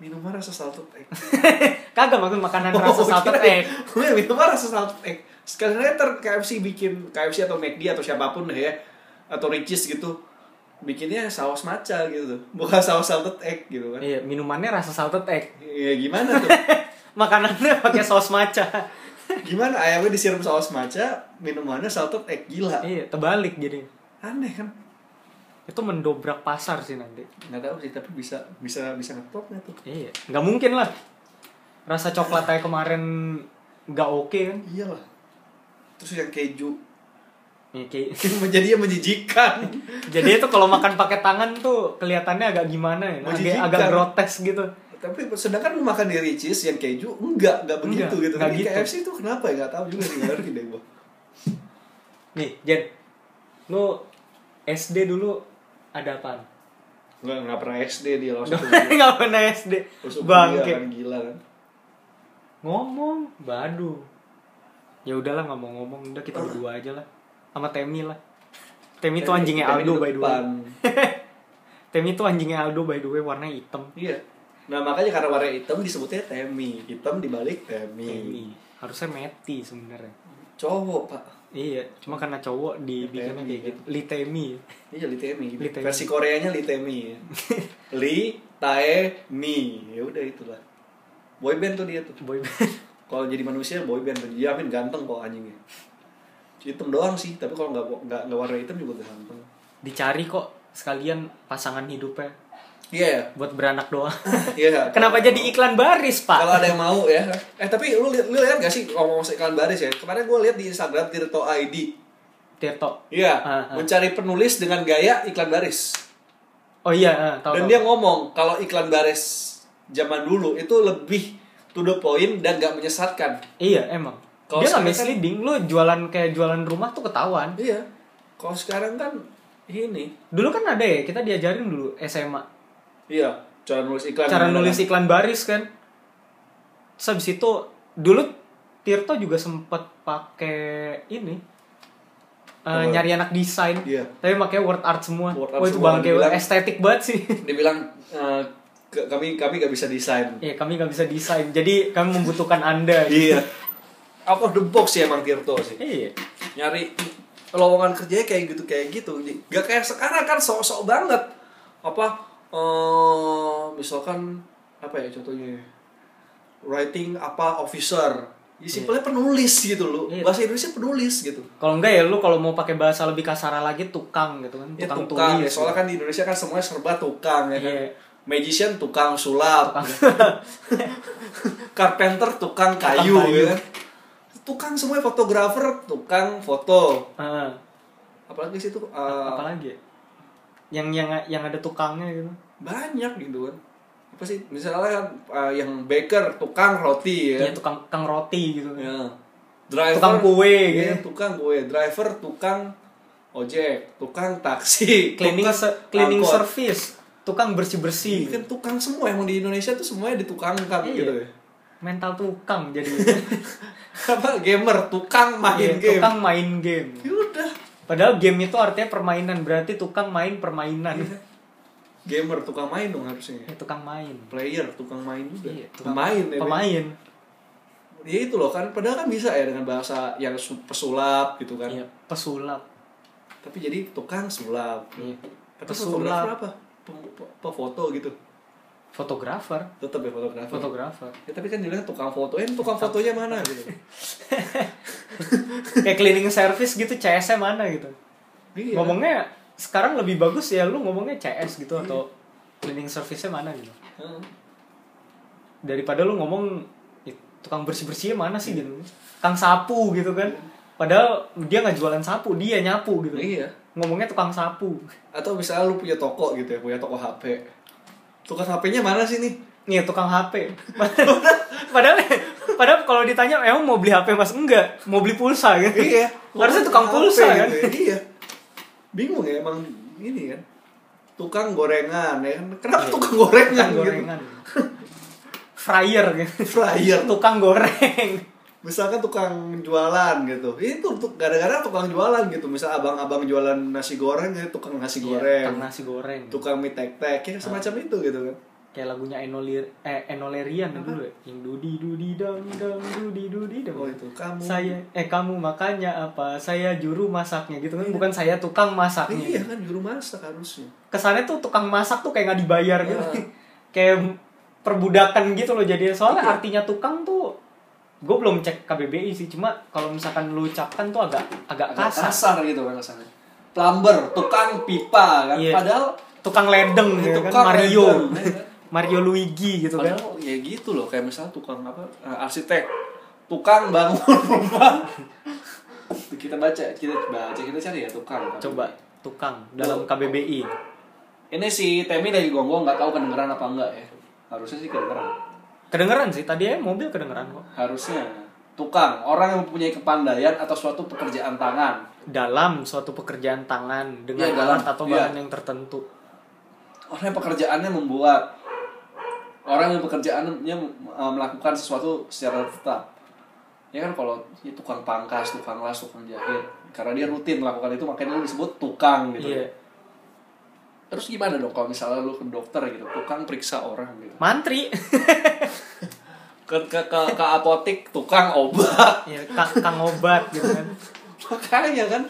Speaker 2: minuman rasa salted egg. Oh, iya.
Speaker 1: Kagak maksud makanan Nah, rasa salted egg.
Speaker 2: Gue Iya, minuman rasa salted egg. sekali ter KFC bikin KFC atau McD atau siapapun deh ya atau Ricis gitu bikinnya saus matcha gitu tuh. bukan saus salted egg gitu kan
Speaker 1: Iya, minumannya rasa salted egg.
Speaker 2: ya gimana tuh
Speaker 1: Makanannya pakai saus maca.
Speaker 2: gimana ayamnya disiram saus matcha minumannya salted egg gila
Speaker 1: iya, terbalik jadi.
Speaker 2: aneh kan
Speaker 1: Itu mendobrak pasar sih nanti.
Speaker 2: nggak tahu sih tapi bisa bisa bisa ngetopnya tuh
Speaker 1: Iya, nggak mungkin lah. Rasa coklat aja kemarin nggak oke kan?
Speaker 2: iyalah terus yang keju
Speaker 1: Ya, kayak-
Speaker 2: menjadi menjijikan
Speaker 1: Jadi itu kalau makan pakai tangan tuh kelihatannya agak gimana ya? Agak,
Speaker 2: Menjijikan.
Speaker 1: agak grotes gitu.
Speaker 2: tapi sedangkan lu makan di Ricis yang keju enggak enggak begitu
Speaker 1: Enggak,
Speaker 2: gitu
Speaker 1: enggak
Speaker 2: tapi
Speaker 1: gitu.
Speaker 2: KFC itu kenapa ya nggak tahu juga sih nggak ngerti deh gua
Speaker 1: Nih, Jen. Lu SD dulu ada apaan?
Speaker 2: nggak nggak pernah SD dia langsung
Speaker 1: Nggak pernah SD.
Speaker 2: terus bangke
Speaker 1: Bangke.
Speaker 2: kan gila kan
Speaker 1: Ngomong, badu. Ya udahlah nggak mau ngomong, udah kita berdua aja lah. Sama Temi lah. Temi itu anjingnya
Speaker 2: Oh. Temi
Speaker 1: Aldo by the way.
Speaker 2: depan.
Speaker 1: Temi itu anjingnya Aldo by the way, warna hitam.
Speaker 2: iya nah makanya karena warna hitam disebutnya Temi hitam dibalik Temi
Speaker 1: Temi. Harusnya Meti sebenarnya.
Speaker 2: cowok pak
Speaker 1: Iya, cuma karena cowok dibikinnya
Speaker 2: Litemi,
Speaker 1: kayak
Speaker 2: kan?
Speaker 1: gitu. Litemi.
Speaker 2: iya Li Temi
Speaker 1: Li Temi.
Speaker 2: versi Koreanya Li Temi ya. Li Tae Mi ya udah itulah boyband tuh dia tuh
Speaker 1: Boyband.
Speaker 2: kalau jadi manusia boyband tuh jamin ganteng kok anjingnya hitam doang sih tapi kalau nggak nggak nggak warna hitam juga udah ganteng
Speaker 1: Dicari kok sekalian pasangan hidupnya
Speaker 2: iya ya
Speaker 1: buat beranak doang.
Speaker 2: iya ya.
Speaker 1: Kenapa jadi iklan baris,
Speaker 2: kalau
Speaker 1: Pak?
Speaker 2: ada yang mau ya eh tapi lu lihat lu lihat gak sih ngomong iklan baris ya kemarin gue lihat di Instagram Tirto ID
Speaker 1: Tirto.
Speaker 2: iya
Speaker 1: Ah, ah.
Speaker 2: mencari penulis dengan gaya iklan baris
Speaker 1: Oh iya, ah, tahu.
Speaker 2: dan
Speaker 1: tahu.
Speaker 2: dia ngomong kalau iklan baris zaman dulu itu lebih to the point dan gak menyesatkan
Speaker 1: Iya, emang.
Speaker 2: Kalau
Speaker 1: dia nggak
Speaker 2: sekarang kan-
Speaker 1: misleading, lu jualan kayak jualan rumah tuh ketahuan.
Speaker 2: iya kalau sekarang kan ini
Speaker 1: Dulu kan ada ya, kita diajarin dulu SMA.
Speaker 2: iya cara nulis iklan
Speaker 1: Cara
Speaker 2: Gimana?
Speaker 1: nulis iklan baris kan. Terus habis itu, dulu Tirto juga sempet pakai ini. eh,
Speaker 2: Apa?
Speaker 1: nyari anak desain.
Speaker 2: Iya.
Speaker 1: Tapi makanya word art semua.
Speaker 2: Word art
Speaker 1: Wah, itu
Speaker 2: semua,
Speaker 1: bangke
Speaker 2: dibilang-
Speaker 1: estetik banget sih.
Speaker 2: dia bilang "Eh, ke- kami kami gak bisa desain
Speaker 1: Iya, kami nggak bisa desain. Jadi kami membutuhkan Anda.
Speaker 2: iya out of the box ya emang Tirto sih
Speaker 1: Iya.
Speaker 2: nyari lowongan kerjanya kayak gitu kayak gitu gak kayak sekarang kan sok-sok banget apa eh misalkan apa ya contohnya writing apa officer ya simpelnya penulis gitu loh
Speaker 1: Iya.
Speaker 2: bahasa Indonesia penulis gitu
Speaker 1: Kalau enggak ya lu kalau mau pakai bahasa lebih kasar lagi tukang gitu kan,
Speaker 2: ya,
Speaker 1: tukang,
Speaker 2: tukang
Speaker 1: tulis.
Speaker 2: ya, soalnya kan di Indonesia kan semuanya serba tukang ya kan
Speaker 1: Iya.
Speaker 2: magician tukang sulap carpenter tukang kayu,
Speaker 1: Tukang kayu.
Speaker 2: ya kan tukang semuanya fotografer tukang foto
Speaker 1: Heeh.
Speaker 2: apalagi sih tuh eh,
Speaker 1: apalagi ya? yang yang yang ada tukangnya gitu
Speaker 2: banyak gitu kan apa sih misalnya uh, yang baker tukang roti
Speaker 1: ya
Speaker 2: ya,
Speaker 1: tukang tukang roti gitu
Speaker 2: ya.
Speaker 1: Tukang
Speaker 2: driver
Speaker 1: kue,
Speaker 2: gitu
Speaker 1: gitu.
Speaker 2: tukang kue driver tukang ojek tukang taksi
Speaker 1: cleaning
Speaker 2: tukang
Speaker 1: se- cleaning
Speaker 2: angkot.
Speaker 1: service tukang bersih bersih
Speaker 2: Iya, kan tukang semua emang di Indonesia tuh semuanya ditukangkan
Speaker 1: Iya.
Speaker 2: gitu ya
Speaker 1: mental tukang jadi
Speaker 2: apa gamer tukang main
Speaker 1: Iya,
Speaker 2: game
Speaker 1: tukang main game
Speaker 2: ya udah
Speaker 1: padahal game itu artinya permainan berarti tukang main permainan
Speaker 2: Iya. gamer tukang main dong harusnya
Speaker 1: Eh, tukang main
Speaker 2: player tukang main juga
Speaker 1: Iya, tukang-
Speaker 2: pemain ya
Speaker 1: pemain
Speaker 2: ya itu loh kan padahal kan bisa ya dengan bahasa yang su- pesulap gitu kan
Speaker 1: Iya, pesulap
Speaker 2: tapi jadi tukang sulap
Speaker 1: Iya.
Speaker 2: tapi
Speaker 1: Pesulap.
Speaker 2: fotografer apa Pem- pe- pefoto gitu
Speaker 1: fotografer
Speaker 2: tetap ya fotografer
Speaker 1: fotografer
Speaker 2: ya, tapi kan dibilang tukang foto eh tukang fotonya mana gitu
Speaker 1: kayak cleaning service gitu CS-nya mana gitu
Speaker 2: Iya.
Speaker 1: ngomongnya sekarang lebih bagus ya lu ngomongnya CS gitu
Speaker 2: Iya.
Speaker 1: atau cleaning service-nya mana gitu
Speaker 2: Heeh.
Speaker 1: daripada lu ngomong "Ih, tukang bersih bersihnya mana sih
Speaker 2: Iya.
Speaker 1: gitu tukang sapu gitu kan padahal dia nggak jualan sapu dia nyapu gitu
Speaker 2: iya
Speaker 1: ngomongnya tukang sapu
Speaker 2: atau misalnya lu punya toko gitu ya punya toko HP tukang HP-nya mana sih nih
Speaker 1: nih tukang HP padahal padahal kalau ditanya emang mau beli HP mas enggak mau beli pulsa gitu
Speaker 2: iya
Speaker 1: harusnya tukang
Speaker 2: HP
Speaker 1: pulsa kan
Speaker 2: gitu ya. iya bingung ya emang ini kan tukang gorengan ya kan kenapa tukang gorengan,
Speaker 1: Iya.
Speaker 2: gitu.
Speaker 1: tukang gorengan
Speaker 2: gorengan.
Speaker 1: fryer gitu
Speaker 2: Fryer.
Speaker 1: tukang goreng
Speaker 2: misalkan tukang jualan gitu itu tuh gara-gara tukang jualan gitu misal abang-abang jualan nasi goreng ya tukang nasi
Speaker 1: Iya,
Speaker 2: goreng
Speaker 1: tukang nasi goreng
Speaker 2: tukang mie tek tek ya semacam itu gitu kan
Speaker 1: kayak lagunya Enolir eh Enolerian yang dulu ya yang dudi dudi dang dang dudi dudi dang
Speaker 2: Oh, itu. Kamu.
Speaker 1: saya eh kamu makanya apa saya juru masaknya gitu kan bukan saya tukang masaknya
Speaker 2: iya kan juru masak harusnya
Speaker 1: kesannya tuh tukang masak tuh kayak nggak dibayar gitu
Speaker 2: Iya.
Speaker 1: kayak perbudakan gitu loh jadi soalnya
Speaker 2: Iya.
Speaker 1: artinya tukang tuh gue belum cek KBBI sih cuma kalau misalkan lu ucapkan tuh agak agak
Speaker 2: agak
Speaker 1: kasar
Speaker 2: kasar gitu kan kasarnya plumber tukang pipa kan
Speaker 1: Iya.
Speaker 2: padahal
Speaker 1: tukang ledeng ya kan
Speaker 2: Iya, Tukang
Speaker 1: Mario
Speaker 2: ledeng, ya kan?
Speaker 1: Mario Luigi gitu kan
Speaker 2: padahal ya gitu loh kayak misalnya tukang apa eh, arsitek tukang bangun rumah kita baca kita baca kita cari ya tukang
Speaker 1: coba tukang dalam KBBI
Speaker 2: ini si Temi lagi gonggong nggak tahu kedengeran apa enggak ya harusnya sih kedengeran
Speaker 1: kedengeran sih tadi ya mobil kedengeran kok
Speaker 2: harusnya tukang orang yang mempunyai kepandaian atau suatu pekerjaan tangan
Speaker 1: dalam suatu pekerjaan tangan dengan
Speaker 2: Iya, dalam.
Speaker 1: alat atau
Speaker 2: Iya.
Speaker 1: bahan yang tertentu
Speaker 2: orang yang pekerjaannya membuat orang yang pekerjaannya eh, melakukan sesuatu secara tetap ya kan kalau ya, tukang pangkas tukang las tukang jahit karena dia rutin melakukan itu makanya lu disebut tukang gitu
Speaker 1: iya
Speaker 2: terus gimana dong kalau misalnya lu ke dokter gitu tukang periksa orang gitu
Speaker 1: mantri
Speaker 2: ke ke ke, ke apotek tukang obat
Speaker 1: ya ka- kang obat gitu kan
Speaker 2: makanya kan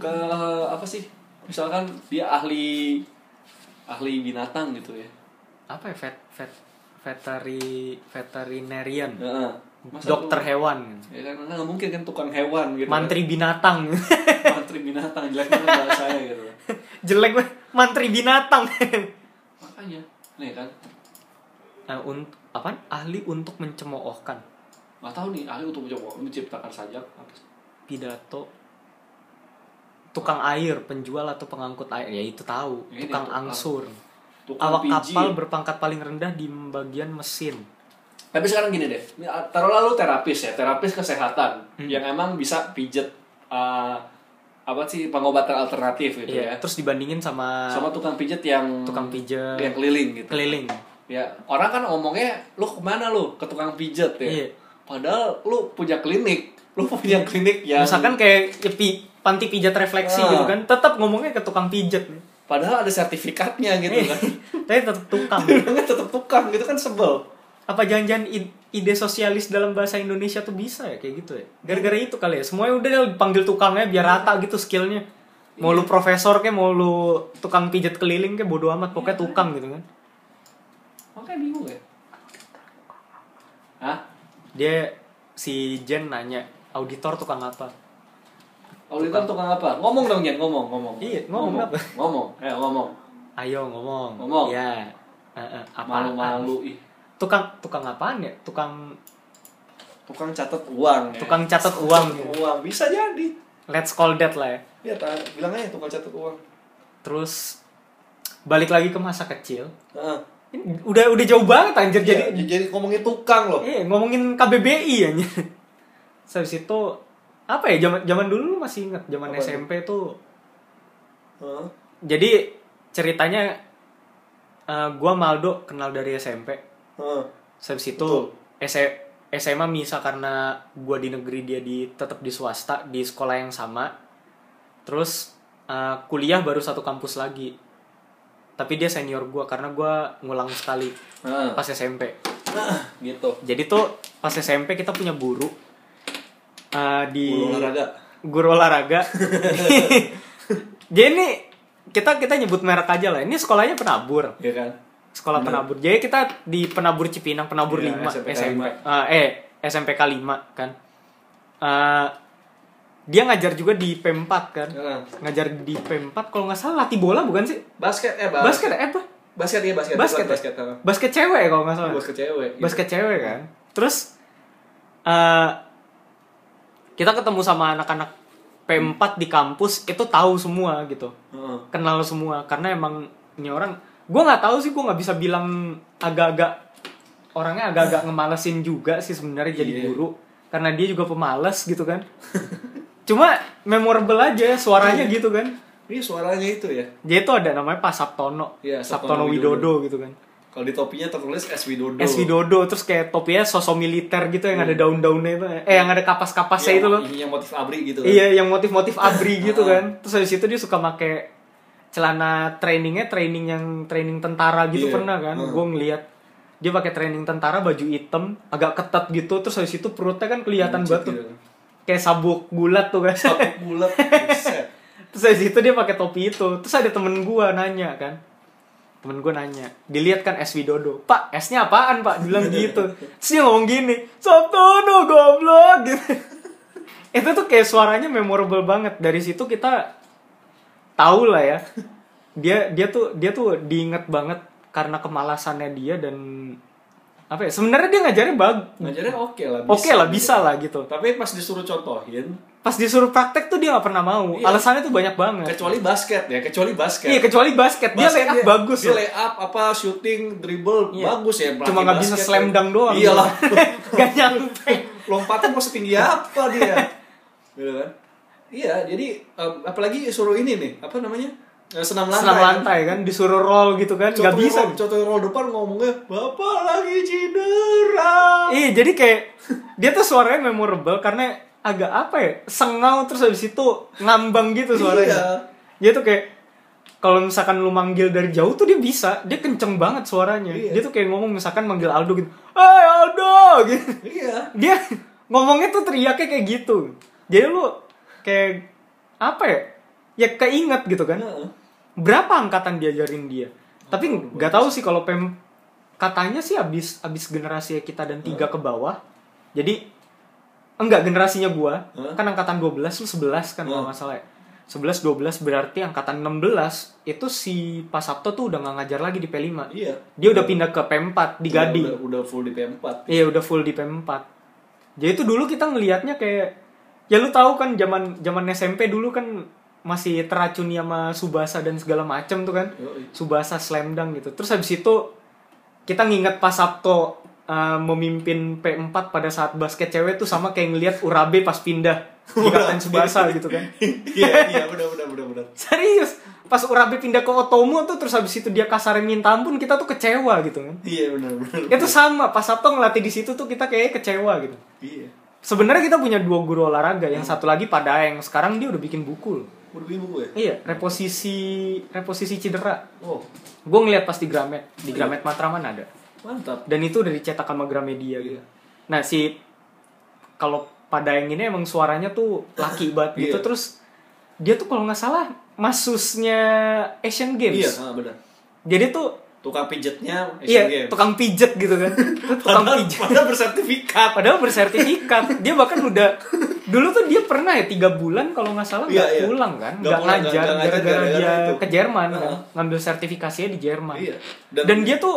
Speaker 2: ke apa sih misalkan dia ahli ahli binatang gitu ya
Speaker 1: apa ya vet vet veteri veterinarian
Speaker 2: Heeh. Masa lu-
Speaker 1: dokter hewan
Speaker 2: ya kan nggak mungkin kan tukang hewan gitu kan.
Speaker 1: mantri binatang
Speaker 2: mantri binatang jelek banget bahasanya gitu
Speaker 1: jelek banget. mantri binatang
Speaker 2: makanya nih kan
Speaker 1: nah, un- apaan? ahli untuk mencemoohkan
Speaker 2: nggak tahu nih ahli untuk mencoba menciptakan sajak apa sih?
Speaker 1: pidato tukang air penjual atau pengangkut air ya itu tahu
Speaker 2: Ini
Speaker 1: tukang
Speaker 2: tukang-
Speaker 1: angsur
Speaker 2: tukang
Speaker 1: awak
Speaker 2: pijit.
Speaker 1: kapal berpangkat paling rendah di bagian mesin
Speaker 2: tapi sekarang gini deh ini, ah, taruhlah lu terapis ya terapis kesehatan
Speaker 1: Hmm.
Speaker 2: yang emang bisa pijet ah, apa sih pengobatan alternatif gitu
Speaker 1: Iya,
Speaker 2: ya
Speaker 1: terus dibandingin sama,
Speaker 2: sama tukang pijet yang
Speaker 1: tukang pijet
Speaker 2: yang keliling gitu
Speaker 1: keliling
Speaker 2: ya orang kan ngomongnya lu kemana lu ke tukang pijet ya
Speaker 1: Iya.
Speaker 2: padahal lu punya klinik lu punya klinik yang
Speaker 1: misalkan kayak ya, pi- panti pijat refleksi
Speaker 2: Ah.
Speaker 1: gitu kan tetap ngomongnya ke tukang pijat
Speaker 2: padahal ada sertifikatnya
Speaker 1: Iya.
Speaker 2: gitu kan
Speaker 1: tapi tetap tukang
Speaker 2: bilangnya tetap tukang gitu kan sebel
Speaker 1: apa jangan-jangan id- ide sosialis dalam bahasa Indonesia tuh bisa ya kayak gitu ya gara-gara itu kali ya semuanya udah panggil tukangnya biar rata gitu skillnya mau lu
Speaker 2: Iya.
Speaker 1: profesor kayak mau lu tukang pijat keliling kayak bodo amat pokoknya
Speaker 2: Iya.
Speaker 1: tukang gitu kan
Speaker 2: makanya bingung ya Hah?
Speaker 1: dia si Jen nanya auditor tukang apa
Speaker 2: Auditor tukang apa? Ngomong dong Jen, ngomong, ngomong.
Speaker 1: Iya, ngomong apa?
Speaker 2: Ngomong, eh ngomong.
Speaker 1: ayo ngomong
Speaker 2: Ngomong.
Speaker 1: ya Eh, eh, apaan?
Speaker 2: Malu-malu ih.
Speaker 1: tukang tukang apaan ya tukang
Speaker 2: Tukang catat uang. ya.
Speaker 1: tukang catat uang
Speaker 2: Catat uang bisa jadi.
Speaker 1: let's call that lah ya
Speaker 2: Lihat, ah, bilang aja tukang catat uang.
Speaker 1: terus balik lagi ke masa kecil
Speaker 2: Heeh.
Speaker 1: Ini udah udah jauh banget anjir jadi
Speaker 2: Jadi Iya, jadi ngomongin tukang loh.
Speaker 1: Eh, ngomongin KBBI ya. Habis itu apa ya zaman zaman dulu lu masih inget zaman
Speaker 2: Apa itu?
Speaker 1: SMP tuh.
Speaker 2: Heeh.
Speaker 1: Jadi ceritanya eh, gua Maldo kenal dari SMP.
Speaker 2: Heeh.
Speaker 1: Habis itu S- SMA misah karena gua di negeri dia di tetap di swasta di sekolah yang sama. Terus eh, kuliah baru satu kampus lagi. Tapi dia senior gua karena gua ngulang sekali
Speaker 2: Heeh.
Speaker 1: pas SMP. Ah,
Speaker 2: Gitu.
Speaker 1: Jadi tuh pas SMP kita punya guru uh, di
Speaker 2: Guru olahraga.
Speaker 1: Guru olahraga. Jadi ini kita kita nyebut merek aja lah. Ini sekolahnya penabur.
Speaker 2: Iya kan?
Speaker 1: Sekolah penabur. Jadi kita di penabur Cipinang, penabur
Speaker 2: Iya,
Speaker 1: 5
Speaker 2: SMPK
Speaker 1: SMP.
Speaker 2: lima.
Speaker 1: Uh, eh SMPK 5 kan. Uh, dia ngajar juga di P4 kan.
Speaker 2: Heeh.
Speaker 1: Ngajar di P4 kalau nggak salah latih bola bukan sih?
Speaker 2: Basket eh bas-
Speaker 1: Basket eh apa?
Speaker 2: Basket iya basket.
Speaker 1: Basket, ya?
Speaker 2: basket. heeh.
Speaker 1: Basket cewek ya kalau nggak salah.
Speaker 2: Basket cewek. gitu.
Speaker 1: basket cewek kan terus eh kita ketemu sama anak-anak P4 di kampus itu tahu semua gitu
Speaker 2: Heeh.
Speaker 1: kenal semua karena emang ini orang gue nggak tahu sih gue nggak bisa bilang agak-agak orangnya agak-agak ngemalesin juga sih sebenarnya jadi
Speaker 2: Iya.
Speaker 1: guru karena dia juga pemalas gitu kan cuma memorable aja suaranya
Speaker 2: Iya.
Speaker 1: gitu kan
Speaker 2: Ini suaranya itu ya.
Speaker 1: dia itu ada namanya Pak Sabtono
Speaker 2: Iya,
Speaker 1: Sabtono,
Speaker 2: Sabtono
Speaker 1: Widodo gitu kan
Speaker 2: Kalau di topinya tertulis S Widodo.
Speaker 1: Es Widodo terus kayak topinya sosok militer gitu yang ada daun-daunnya itu eh yang ada kapas-kapasnya
Speaker 2: Iya,
Speaker 1: itu loh
Speaker 2: Yang motif abri gitu. kan.
Speaker 1: iya yang motif-motif abri gitu kan terus habis itu dia suka make celana trainingnya training yang training tentara gitu
Speaker 2: Iya.
Speaker 1: pernah kan
Speaker 2: Hmm.
Speaker 1: gue ngeliat dia pakai training tentara baju hitam agak ketat gitu terus habis itu perutnya kan kelihatan
Speaker 2: Buncit
Speaker 1: banget tuh.
Speaker 2: gitu kan.
Speaker 1: kayak sabuk bulat tuh kan. guys
Speaker 2: Sabuk bulat, buset.
Speaker 1: terus habis itu dia pakai topi itu terus ada temen gue nanya kan temen gue nanya dilihat kan es widodo pak esnya apaan pak bilang gitu terus dia ngomong gini sabtono goblok gitu itu tuh kayak suaranya memorable banget dari situ kita tahu lah ya dia dia tuh dia tuh diinget banget karena kemalasannya dia dan apa ya sebenarnya dia ngajarin bag
Speaker 2: Ngajarin oke lah.
Speaker 1: oke lah bisa lah gitu
Speaker 2: Tapi pas disuruh contohin,
Speaker 1: pas disuruh praktek tuh dia nggak pernah mau
Speaker 2: Iya.
Speaker 1: alasannya tuh banyak banget
Speaker 2: kecuali basket ya, kecuali basket.
Speaker 1: Iya kecuali basket, dia
Speaker 2: Basket
Speaker 1: layup bagus.
Speaker 2: Dia
Speaker 1: loh.
Speaker 2: layup apa shooting, dribble
Speaker 1: Iya.
Speaker 2: bagus ya. pelatih
Speaker 1: Cuma nggak bisa
Speaker 2: basket.
Speaker 1: slam dunk doang.
Speaker 2: Iyalah.
Speaker 1: gak nyampe.
Speaker 2: Lompatan mau setinggi apa dia? Gitu kan? Iya, jadi em, apalagi suruh ini nih, apa namanya? Eh, Senam lantai.
Speaker 1: Senam lantai kan disuruh roll gitu kan, nggak
Speaker 2: Contohnya
Speaker 1: bisa.
Speaker 2: roll- Contohnya roll depan ngomongnya, "Bapak lagi cedera."
Speaker 1: Iya jadi kayak dia tuh suaranya memorable karena agak apa ya sengau terus habis itu ngambang
Speaker 2: Iya.
Speaker 1: gitu suaranya. Dia tuh kayak kalau misalkan lu manggil dari jauh tuh dia bisa, dia kenceng banget suaranya.
Speaker 2: Iya.
Speaker 1: Dia tuh kayak ngomong misalkan manggil Aldo gitu, "Hey Aldo!" gitu.
Speaker 2: Iya.
Speaker 1: dia ngomongnya tuh teriaknya kayak gitu jadi lu kayak apa ya ya keinget gitu kan
Speaker 2: Heeh.
Speaker 1: berapa angkatan diajarin dia tapi nggak tahu sih kalau pem katanya sih abis abis generasi kita dan tiga ke bawah jadi enggak generasinya gua
Speaker 2: Heeh.
Speaker 1: kan angkatan 12 lu 11 kan kalau
Speaker 2: Heeh.
Speaker 1: nggak salah ya 11 12 berarti angkatan 16 itu si Pak Sabto tuh udah nggak ngajar lagi di P5
Speaker 2: Iya.
Speaker 1: dia udah pindah ke P4 di Gading
Speaker 2: Udah, udah full di P4.
Speaker 1: Iya udah full di P4. Jadi itu dulu kita ngelihatnya kayak ya lu tahu kan zaman zaman SMP dulu kan masih teracuni sama Subasa dan segala macem tuh kan.
Speaker 2: Yoi.
Speaker 1: Subasa slam dunk gitu. Terus habis itu kita nginget Pak Sabto uh, memimpin P4 pada saat basket cewek tuh sama kayak ngelihat Urabe pas pindah di Kapten Subasa gitu kan.
Speaker 2: Iya, iya, benar benar benar benar.
Speaker 1: Serius, pas Urabe pindah ke Otomo tuh terus habis itu dia kasarin minta ampun kita tuh kecewa gitu kan.
Speaker 2: Iya, benar benar.
Speaker 1: Itu sama, Pak Sabto ngelatih di situ tuh kita kayak kecewa gitu.
Speaker 2: Iya.
Speaker 1: Sebenarnya kita punya dua guru olahraga, yang
Speaker 2: Hmm.
Speaker 1: satu lagi Pak Daeng. Sekarang dia udah bikin buku loh.
Speaker 2: Udah beli buku ya?
Speaker 1: Iya, reposisi reposisi cedera.
Speaker 2: Oh,
Speaker 1: Gue ngeliat pas di Gramet, di
Speaker 2: Iya.
Speaker 1: Gramet Matraman ada.
Speaker 2: mantap.
Speaker 1: Dan itu udah dicetak sama Gramedia
Speaker 2: Iya.
Speaker 1: gitu. Nah si kalau Pak Daeng ini emang suaranya tuh laki banget gitu.
Speaker 2: Iya.
Speaker 1: Terus dia tuh kalau nggak salah masusnya Asian Games.
Speaker 2: Iya, ah, benar.
Speaker 1: Jadi tuh
Speaker 2: Tukang pijetnya
Speaker 1: iya
Speaker 2: Asian Games.
Speaker 1: tukang pijet gitu kan. tukang
Speaker 2: Padahal-
Speaker 1: pijet.
Speaker 2: Padahal bersertifikat.
Speaker 1: padahal bersertifikat dia bahkan udah dulu tuh dia pernah ya tiga bulan kalau nggak salah nggak
Speaker 2: Iya, iya.
Speaker 1: pulang kan
Speaker 2: Nggak
Speaker 1: nggak
Speaker 2: pulang,
Speaker 1: ngajar
Speaker 2: nggak- nggak ngajar
Speaker 1: gara-gara
Speaker 2: gara-gara
Speaker 1: dia
Speaker 2: itu.
Speaker 1: ke Jerman kan
Speaker 2: Heeh.
Speaker 1: ngambil sertifikasinya di Jerman
Speaker 2: Iya.
Speaker 1: dan, dia tuh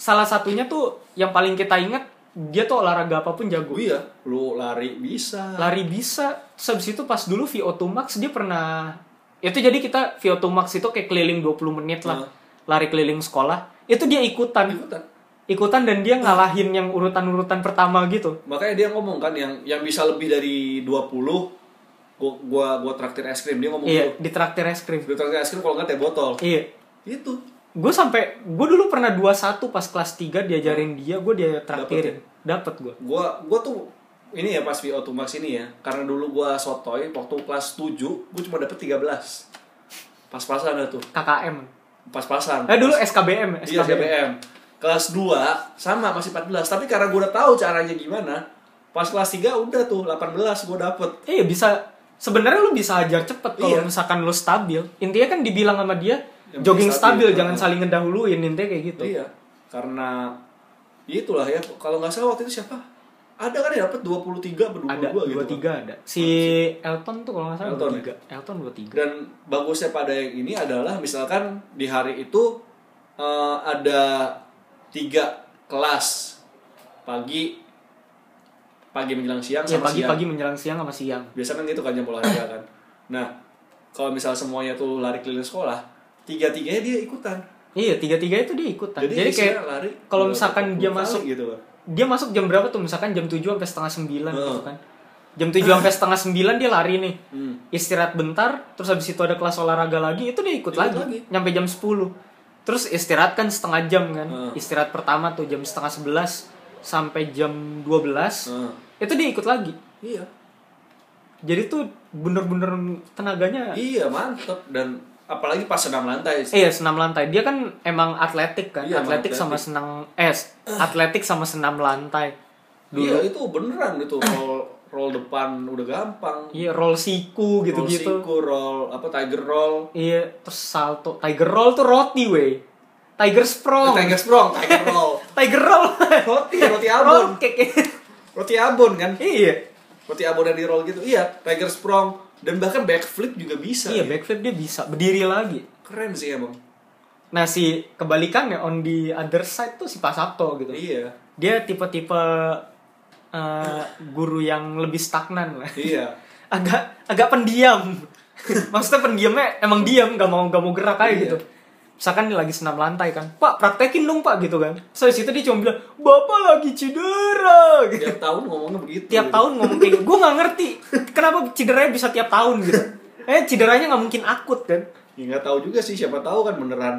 Speaker 1: salah satunya tuh yang paling kita ingat dia tuh olahraga apapun jago
Speaker 2: iya, lu lari bisa.
Speaker 1: lari bisa terus habis itu pas dulu VO2 max dia pernah itu jadi kita VO2 max itu kayak keliling 20 menit lah
Speaker 2: Heeh.
Speaker 1: lari keliling sekolah itu dia ikutan
Speaker 2: Ikutan.
Speaker 1: ikutan dan dia ngalahin yang urutan-urutan pertama gitu
Speaker 2: Makanya dia ngomong kan yang yang bisa lebih dari 20 gua gua, gua traktir es krim. Dia ngomong
Speaker 1: Iya, di
Speaker 2: gitu.
Speaker 1: traktir es krim.
Speaker 2: Gua traktir es krim kalau nggak teh botol. Gitu.
Speaker 1: Iya.
Speaker 2: Itu.
Speaker 1: Gue sampai gue dulu pernah 21 pas kelas 3 diajarin dia, gue dia traktirin.
Speaker 2: ya?
Speaker 1: Dapat gue.
Speaker 2: Gua gua tuh ini ya pas VO2 Max ini ya, karena dulu gua sotoy waktu kelas 7, gua cuma dapet 13. Pas-pasan dah tuh.
Speaker 1: KKM.
Speaker 2: Pas-pasan.
Speaker 1: Eh dulu SKBM, ya,
Speaker 2: Iya
Speaker 1: SKBM.
Speaker 2: SBM. Kelas 2 sama masih 14, tapi karena gue udah tahu caranya gimana, pas kelas 3 udah tuh 18 gue dapet.
Speaker 1: Iya, bisa sebenarnya lu bisa ajar cepet kalau
Speaker 2: Iya.
Speaker 1: misalkan lu stabil. Intinya kan dibilang sama dia
Speaker 2: Yang
Speaker 1: jogging
Speaker 2: penting
Speaker 1: stabil,
Speaker 2: stabil,
Speaker 1: jangan
Speaker 2: heeh.
Speaker 1: saling ngedahuluin intinya kayak gitu.
Speaker 2: Iya. Karena ya itulah ya kalau nggak salah waktu itu siapa? Ada kan yang dapet 23 apa 22
Speaker 1: Ada
Speaker 2: gitu.
Speaker 1: 23
Speaker 2: kan.
Speaker 1: ada. Si Elton tuh kalau nggak salah
Speaker 2: Elton, ya?
Speaker 1: 23. Elton 23.
Speaker 2: Dan bagusnya pada yang ini adalah misalkan di hari itu eh, ada tiga kelas pagi pagi menjelang siang
Speaker 1: Iya,
Speaker 2: sama siang.
Speaker 1: pagi-pagi menjelang siang sama siang.
Speaker 2: biasanya kan gitu kan jam olahraga kan nah kalau misal semuanya tuh lari keliling sekolah tiga tiganya dia ikutan
Speaker 1: Iya, tiga-tiga itu dia ikutan. Jadi, kayak
Speaker 2: isinya lari
Speaker 1: kalau
Speaker 2: berapa
Speaker 1: misalkan
Speaker 2: puluh
Speaker 1: dia
Speaker 2: kali
Speaker 1: masuk-
Speaker 2: gitu kan
Speaker 1: dia masuk jam berapa tuh misalkan jam 7 sampai setengah 9 gitu
Speaker 2: Heeh.
Speaker 1: kan jam 7 sampai setengah 9 dia lari nih
Speaker 2: hmm.
Speaker 1: istirahat bentar terus habis itu ada kelas olahraga lagi itu dia ikut,
Speaker 2: Ikut
Speaker 1: lagi.
Speaker 2: lagi.
Speaker 1: nyampe jam 10 terus istirahat kan setengah jam kan
Speaker 2: Heeh.
Speaker 1: istirahat pertama tuh jam setengah 11 sampai jam 12
Speaker 2: Heeh.
Speaker 1: itu dia ikut lagi
Speaker 2: Nah, iya
Speaker 1: jadi tuh bener-bener tenaganya
Speaker 2: iya mantep dan apalagi pas senam lantai
Speaker 1: Eh, iya, senam lantai. Dia kan emang atletik kan.
Speaker 2: Iya, emang
Speaker 1: atletik sama
Speaker 2: atletik.
Speaker 1: senam es. atletik sama senam lantai.
Speaker 2: Iya
Speaker 1: Dulu.
Speaker 2: itu beneran itu roll roll depan udah gampang.
Speaker 1: Iya, roll siku
Speaker 2: Roll
Speaker 1: gitu-gitu.
Speaker 2: siku, roll apa tiger roll.
Speaker 1: Iya, terus salto. Tiger roll tuh roti, wey. Tiger
Speaker 2: Eh,
Speaker 1: sprong.
Speaker 2: tiger sprong, tiger roll.
Speaker 1: Tiger roll.
Speaker 2: roti, roti
Speaker 1: roll
Speaker 2: abon.
Speaker 1: cake.
Speaker 2: Roti abon kan?
Speaker 1: iya.
Speaker 2: Roti abon yang di roll gitu. Iya, tiger sprong dan bahkan backflip juga bisa. ya.
Speaker 1: Iya, backflip dia bisa. Berdiri lagi.
Speaker 2: Keren sih emang.
Speaker 1: Nah, si kebalikannya on the other side tuh si Pak Sabto gitu.
Speaker 2: Iya.
Speaker 1: Dia tipe-tipe eh, guru yang lebih stagnan lah.
Speaker 2: Iya.
Speaker 1: agak agak pendiam maksudnya pendiamnya emang diam gak mau gak mau gerak aja
Speaker 2: Iya.
Speaker 1: gitu misalkan dia lagi senam lantai kan pak praktekin dong pak gitu kan so di situ dia cuma bilang bapak lagi cedera gitu.
Speaker 2: Tiap tahun ngomongnya begitu.
Speaker 1: tiap
Speaker 2: gitu.
Speaker 1: tahun ngomong kayak gue nggak ngerti kenapa cederanya bisa tiap tahun gitu eh cederanya nggak mungkin akut kan
Speaker 2: Ya nggak tahu juga sih siapa tahu kan beneran.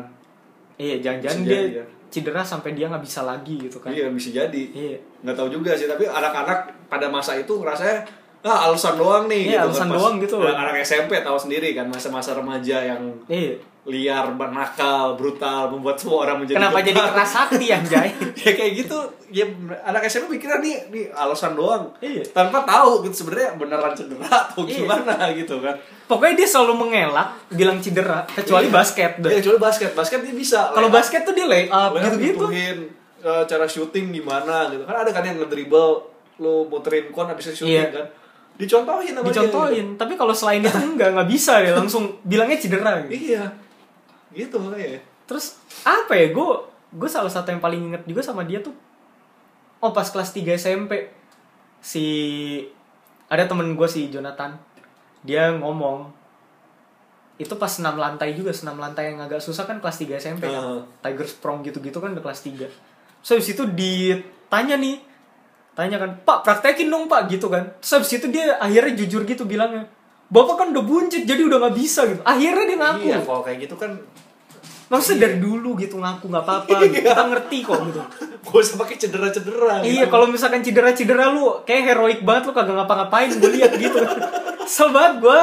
Speaker 1: iya jangan-jangan
Speaker 2: Bisa
Speaker 1: dia
Speaker 2: jadi, ya.
Speaker 1: cedera sampai dia nggak bisa lagi gitu kan
Speaker 2: Iya bisa jadi.
Speaker 1: iya
Speaker 2: Nggak tahu juga sih tapi anak-anak pada masa itu ngerasanya ah alasan doang nih.
Speaker 1: Iya, alasan
Speaker 2: Pas
Speaker 1: doang gitu.
Speaker 2: Anak-anak SMP tahu sendiri kan masa-masa remaja yang
Speaker 1: iya
Speaker 2: liar, nakal, brutal, membuat semua orang menjadi
Speaker 1: kenapa jadi
Speaker 2: getar.
Speaker 1: keras hati anjay
Speaker 2: ya kayak gitu ya anak SMP mikirnya nih nih alasan doang
Speaker 1: Iya.
Speaker 2: tanpa tahu gitu sebenarnya beneran cedera atau
Speaker 1: Iya.
Speaker 2: gimana gitu kan
Speaker 1: pokoknya dia selalu mengelak bilang cedera kecuali
Speaker 2: Iya.
Speaker 1: basket deh
Speaker 2: ya kecuali basket basket dia bisa
Speaker 1: Kalau
Speaker 2: Layup-
Speaker 1: basket tuh dia lay up
Speaker 2: layup
Speaker 1: gitu-gitu.
Speaker 2: dibutuhin, eh, cara syuting gimana gitu kan ada kan yang ngedribble lu muterin kon habis itu syuting
Speaker 1: Iya.
Speaker 2: kan dicontohin sama dia, gitu.
Speaker 1: Dicontohin, tapi kalau selain itu enggak nggak bisa ya langsung bilangnya cedera gitu.
Speaker 2: iya gitu makanya
Speaker 1: Terus apa ya? Gue gue salah satu yang paling inget juga sama dia tuh oh pas kelas 3 SMP si ada temen gue si Jonathan dia ngomong itu pas senam lantai juga senam lantai yang agak susah kan kelas 3 SMP kan?
Speaker 2: Heeh.
Speaker 1: Tiger Sprong gitu-gitu kan udah kelas 3 So habis itu ditanya nih Tanya kan Pak praktekin dong pak gitu kan So habis itu dia akhirnya jujur gitu bilangnya Bapak kan udah buncit jadi udah gak bisa gitu Akhirnya dia ngaku
Speaker 2: iya kalau kayak gitu kan
Speaker 1: Maksudnya dari dulu gitu ngaku gak apa-apa gitu.
Speaker 2: Iya.
Speaker 1: Kita ngerti kok gitu
Speaker 2: gak usah pakai cedera-cedera
Speaker 1: Iya
Speaker 2: gitu.
Speaker 1: kalau misalkan cedera-cedera lu Kayak heroik banget lu kagak ngapa-ngapain gue liat gitu Kesel banget gue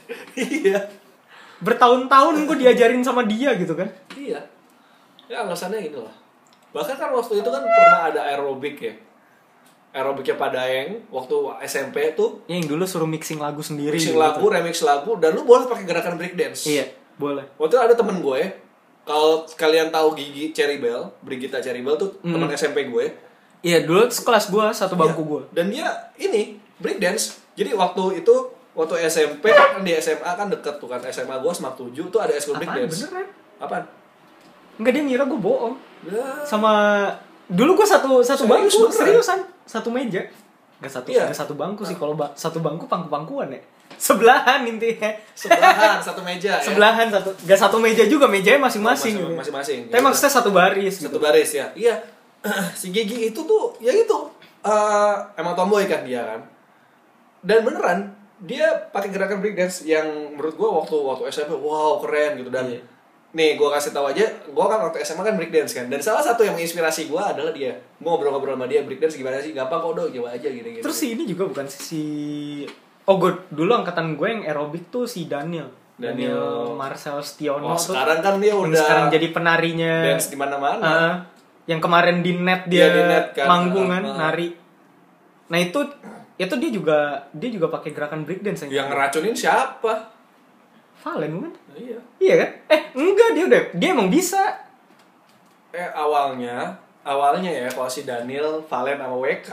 Speaker 2: iya
Speaker 1: Bertahun-tahun gue diajarin sama dia gitu kan
Speaker 2: Iya. Ya alasannya gitu lah. Bahkan kan waktu itu kan pernah ada aerobik ya. Aerobiknya Padaeng waktu SMP tuh
Speaker 1: Ya, Yang dulu suruh mixing lagu sendiri
Speaker 2: mixing
Speaker 1: gitu.
Speaker 2: lagu, remix lagu dan lu boleh pakai gerakan breakdance.
Speaker 1: Iya boleh
Speaker 2: Waktu itu ada temen gue, kalau kalian tahu Gigi Cherry Bell, Brigita Cherry Bell tuh teman SMP gue.
Speaker 1: Iya dulu sekelas gue satu Hmm. bangku
Speaker 2: Iya.
Speaker 1: gue
Speaker 2: Dan dia ini breakdance. Jadi waktu itu waktu SMP kan di SMA kan deket tuh kan SMA gue Semak 7 tuh ada eskul
Speaker 1: Apaan
Speaker 2: breakdance.
Speaker 1: beneran?
Speaker 2: Apaan?
Speaker 1: Enggak dia ngira gue bohong.
Speaker 2: Ya,
Speaker 1: Sama dulu gue satu satu
Speaker 2: Serius,
Speaker 1: bangku
Speaker 2: beneran?
Speaker 1: seriusan satu meja. Gak satu
Speaker 2: Iya.
Speaker 1: nggak satu bangku sih kalau ba- satu bangku pangku pangkuan ya. Sebelahan intinya.
Speaker 2: sebelahan satu meja ya.
Speaker 1: Iya. Sebelahan satu gak satu meja juga mejanya masing-masing.
Speaker 2: Oh,
Speaker 1: gitu.
Speaker 2: masing-masing.
Speaker 1: Tapi
Speaker 2: Iya.
Speaker 1: maksudnya satu baris gitu.
Speaker 2: satu baris ya iya si Gigi itu tuh ya itu eh, emang tomboy kan dia kan dan beneran dia pakai gerakan breakdance yang menurut gua waktu waktu SMP wow keren gitu dan
Speaker 1: Iya.
Speaker 2: nih gua kasih tahu aja gua kan waktu SMA kan breakdance kan dan salah satu yang menginspirasi gua adalah dia gua ngobrol-ngobrol sama dia breakdance gimana sih gampang kok dong coba aja gini gini
Speaker 1: Terus si ini juga bukan sih, si Oh gue dulu angkatan gue yang aerobik tuh si Daniel. Daniel,
Speaker 2: Daniel.
Speaker 1: Marcel Stiono
Speaker 2: oh,
Speaker 1: tuh.
Speaker 2: sekarang kan dia
Speaker 1: yang
Speaker 2: udah
Speaker 1: sekarang jadi Ah. penarinya
Speaker 2: dance di mana-mana
Speaker 1: Heeh. yang kemarin di net
Speaker 2: Iya,
Speaker 1: dia,
Speaker 2: di net kan.
Speaker 1: manggung kan,
Speaker 2: Heeh.
Speaker 1: nari. Nah itu itu dia juga dia juga pakai gerakan breakdance
Speaker 2: yang
Speaker 1: yang
Speaker 2: ngeracunin siapa
Speaker 1: Valen kan?
Speaker 2: Nah, iya
Speaker 1: Iya kan? Eh enggak dia udah dia emang bisa.
Speaker 2: eh awalnya awalnya ya kalau si Daniel Valen sama WK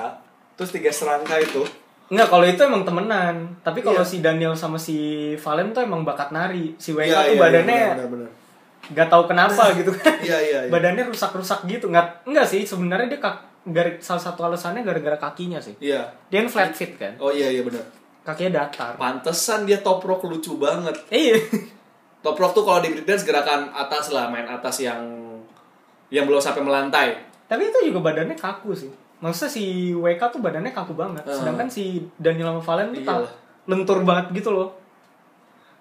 Speaker 2: terus tiga serangka itu
Speaker 1: Enggak kalau itu emang temenan. Tapi kalau
Speaker 2: Iya.
Speaker 1: si Daniel sama si Valen tuh emang bakat nari. Si WK
Speaker 2: Iya,
Speaker 1: tuh
Speaker 2: iya,
Speaker 1: badannya
Speaker 2: iya, benar, benar,
Speaker 1: nggak tahu kenapa gitu kan.
Speaker 2: Iya, iya, iya.
Speaker 1: Badannya rusak-rusak gitu. Enggak enggak sih sebenarnya dia kak, gara- salah satu alasannya gara-gara kakinya sih.
Speaker 2: iya
Speaker 1: Dia kan flat feet kan.
Speaker 2: oh iya iya benar
Speaker 1: Kakinya datar.
Speaker 2: pantesan dia toprok lucu banget
Speaker 1: Iya.
Speaker 2: toprok tuh kalau di breakdance gerakan atas lah main atas yang yang belum sampai melantai
Speaker 1: Tapi itu juga badannya kaku sih. Maksudnya si WK tuh badannya kaku banget.
Speaker 2: Heeh.
Speaker 1: Sedangkan si Daniel sama Valen tuh tak
Speaker 2: Ah. Iyalah.
Speaker 1: lentur banget gitu loh.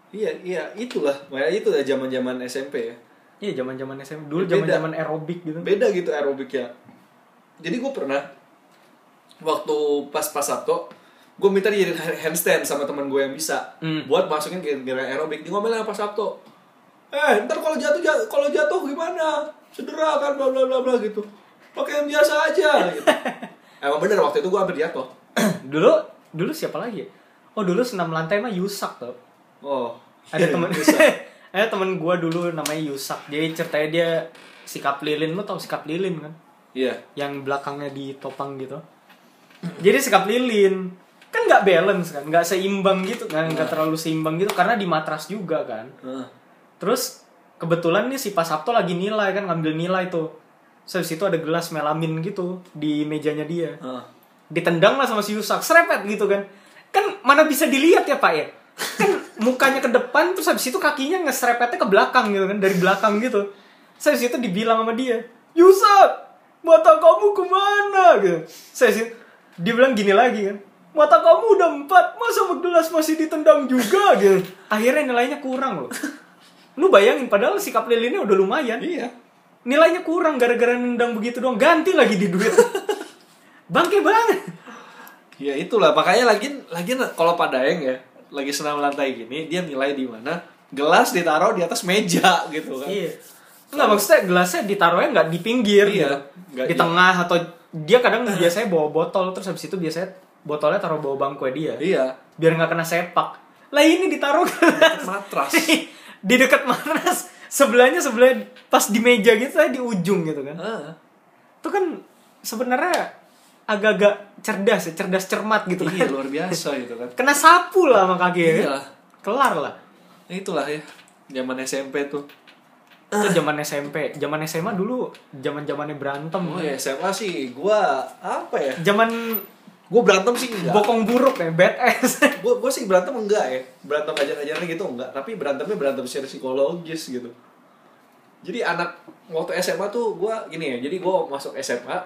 Speaker 2: iya iya itulah makanya itu ya zaman zaman SMP ya
Speaker 1: Iya, zaman-zaman SMP dulu
Speaker 2: Beda.
Speaker 1: zaman-zaman aerobik gitu.
Speaker 2: beda gitu aerobiknya jadi gue pernah waktu pas pas Sabtu gue minta dia jadi handstand sama teman gue yang bisa
Speaker 1: Hmm.
Speaker 2: buat masukin ke gerakan aerobik dia ngomelnya pas Sabtu eh ntar kalau jatuh jat- kalau jatuh gimana cedera kan bla bla bla bla gitu pakai yang biasa aja gitu. emang bener waktu itu gue hampir jatuh
Speaker 1: dulu dulu siapa lagi ya? oh dulu senam lantai mah Yusak tuh
Speaker 2: oh
Speaker 1: ada temen
Speaker 2: Bisa.
Speaker 1: ada temen gua dulu namanya Yusak jadi ceritanya dia sikap lilin lu tau sikap lilin kan
Speaker 2: iya
Speaker 1: yang belakangnya ditopang gitu jadi sikap lilin kan nggak balance kan nggak seimbang gitu kan nggak terlalu seimbang gitu karena di matras juga kan
Speaker 2: Heeh.
Speaker 1: terus kebetulan nih si Pak Sabto lagi nilai kan ngambil nilai tuh Terus habis itu ada gelas melamin gitu di mejanya dia
Speaker 2: Heeh.
Speaker 1: ditendang lah sama si Yusak serepet gitu kan kan mana bisa dilihat ya pak ya kan mukanya ke depan terus habis itu kakinya ngeserepetnya ke belakang gitu kan dari belakang gitu saya situ dibilang sama dia Yusak mata kamu kemana gitu saya situ dia bilang gini lagi kan mata kamu udah empat masa gelas masih ditendang juga gitu akhirnya nilainya kurang loh lu bayangin padahal sikap lilinnya udah lumayan
Speaker 2: iya
Speaker 1: nilainya kurang gara-gara nendang begitu doang ganti lagi di duit bangke banget
Speaker 2: ya itulah makanya lagi lagi kalau padaeng ya lagi senam lantai gini dia nilai di mana gelas ditaruh di atas meja gitu kan
Speaker 1: iya nggak maksudnya gelasnya ditaruhnya nggak di pinggir
Speaker 2: Iya,
Speaker 1: gitu.
Speaker 2: nggak
Speaker 1: di
Speaker 2: di-
Speaker 1: tengah atau dia kadang biasanya bawa botol terus habis itu biasanya botolnya taruh bawa bangku dia
Speaker 2: iya
Speaker 1: biar nggak kena sepak lah ini ditaruh gelas
Speaker 2: matras
Speaker 1: di dekat matras sebelahnya sebelah pas di meja gitu saya di ujung gitu kan
Speaker 2: Heeh.
Speaker 1: itu kan sebenarnya agak-agak cerdas ya cerdas cermat gitu
Speaker 2: iya
Speaker 1: kan
Speaker 2: luar biasa gitu kan
Speaker 1: kena sapu lah sama kaki ya kan?
Speaker 2: Iya.
Speaker 1: kelar lah
Speaker 2: Nah, itulah ya zaman SMP tuh
Speaker 1: itu zaman SMP zaman SMA dulu zaman zamannya berantem
Speaker 2: oh ya SMA sih gua apa ya
Speaker 1: zaman
Speaker 2: gua berantem sih enggak
Speaker 1: bokong buruk ya bad ass
Speaker 2: gue gue sih berantem enggak ya berantem ajar-ajaran gitu enggak tapi berantemnya berantem secara psikologis gitu jadi anak waktu SMA tuh gue gini ya jadi gue masuk SMA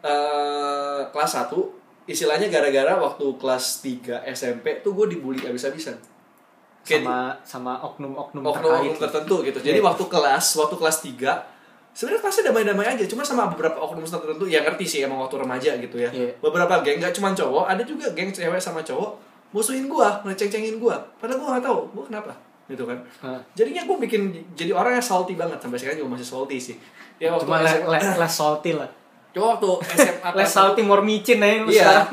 Speaker 2: eh kelas 1 istilahnya gara-gara waktu kelas 3 SMP tuh gue dibully abis-abisan Kayak
Speaker 1: sama sama oknum-oknum
Speaker 2: oknum-oknum
Speaker 1: terkait
Speaker 2: tertentu gitu. Jadi
Speaker 1: Iya.
Speaker 2: waktu kelas, waktu kelas 3 sebenarnya kelasnya damai-damai aja, cuma sama beberapa oknum tertentu ya ngerti sih emang waktu remaja gitu ya.
Speaker 1: Iya.
Speaker 2: Beberapa geng nggak cuma cowok, ada juga geng cewek sama cowok musuhin gua, ngeceng-cengin gua. Padahal gua nggak tahu, gua kenapa gitu kan.
Speaker 1: Hah.
Speaker 2: Jadinya gua bikin jadi orang yang salty banget sampai sekarang juga masih salty sih. Ya waktu
Speaker 1: cuma le,
Speaker 2: SMA,
Speaker 1: le, less salty lah
Speaker 2: cuma waktu SMA
Speaker 1: less salty more micin aja lu
Speaker 2: Iya.
Speaker 1: sekarang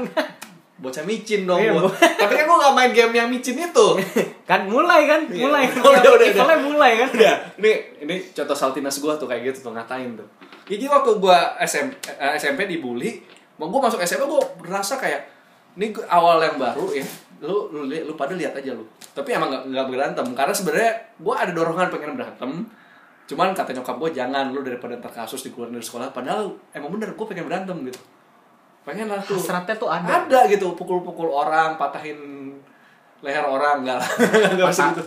Speaker 2: Bocah micin dong.
Speaker 1: Iya, bo-
Speaker 2: gua. Tapi kan gua nggak main game yang micin itu.
Speaker 1: kan mulai kan
Speaker 2: Iya.
Speaker 1: mulai
Speaker 2: Udah, udah, udah.
Speaker 1: Levelnya mulai kan
Speaker 2: Udah, ini ini contoh saltinas gua tuh kayak gitu tuh ngatain tuh. Jadi waktu gua SM, eh, SMP dibully, mau gua masuk SMP gua merasa kayak ini gua- awal yang baru ya. Lu lu li- lu pada lihat aja lu. Tapi emang nggak nggak berantem karena sebenarnya gua ada dorongan pengen berantem. Cuman kata nyokap gua jangan lu daripada ntar kasus dikeluarin dari sekolah. Padahal emang bener gua pengen berantem gitu. Pengen lah tuh
Speaker 1: hasratnya tuh ada
Speaker 2: ada gitu pukul-pukul orang patahin leher orang enggak lah enggak bisa gitu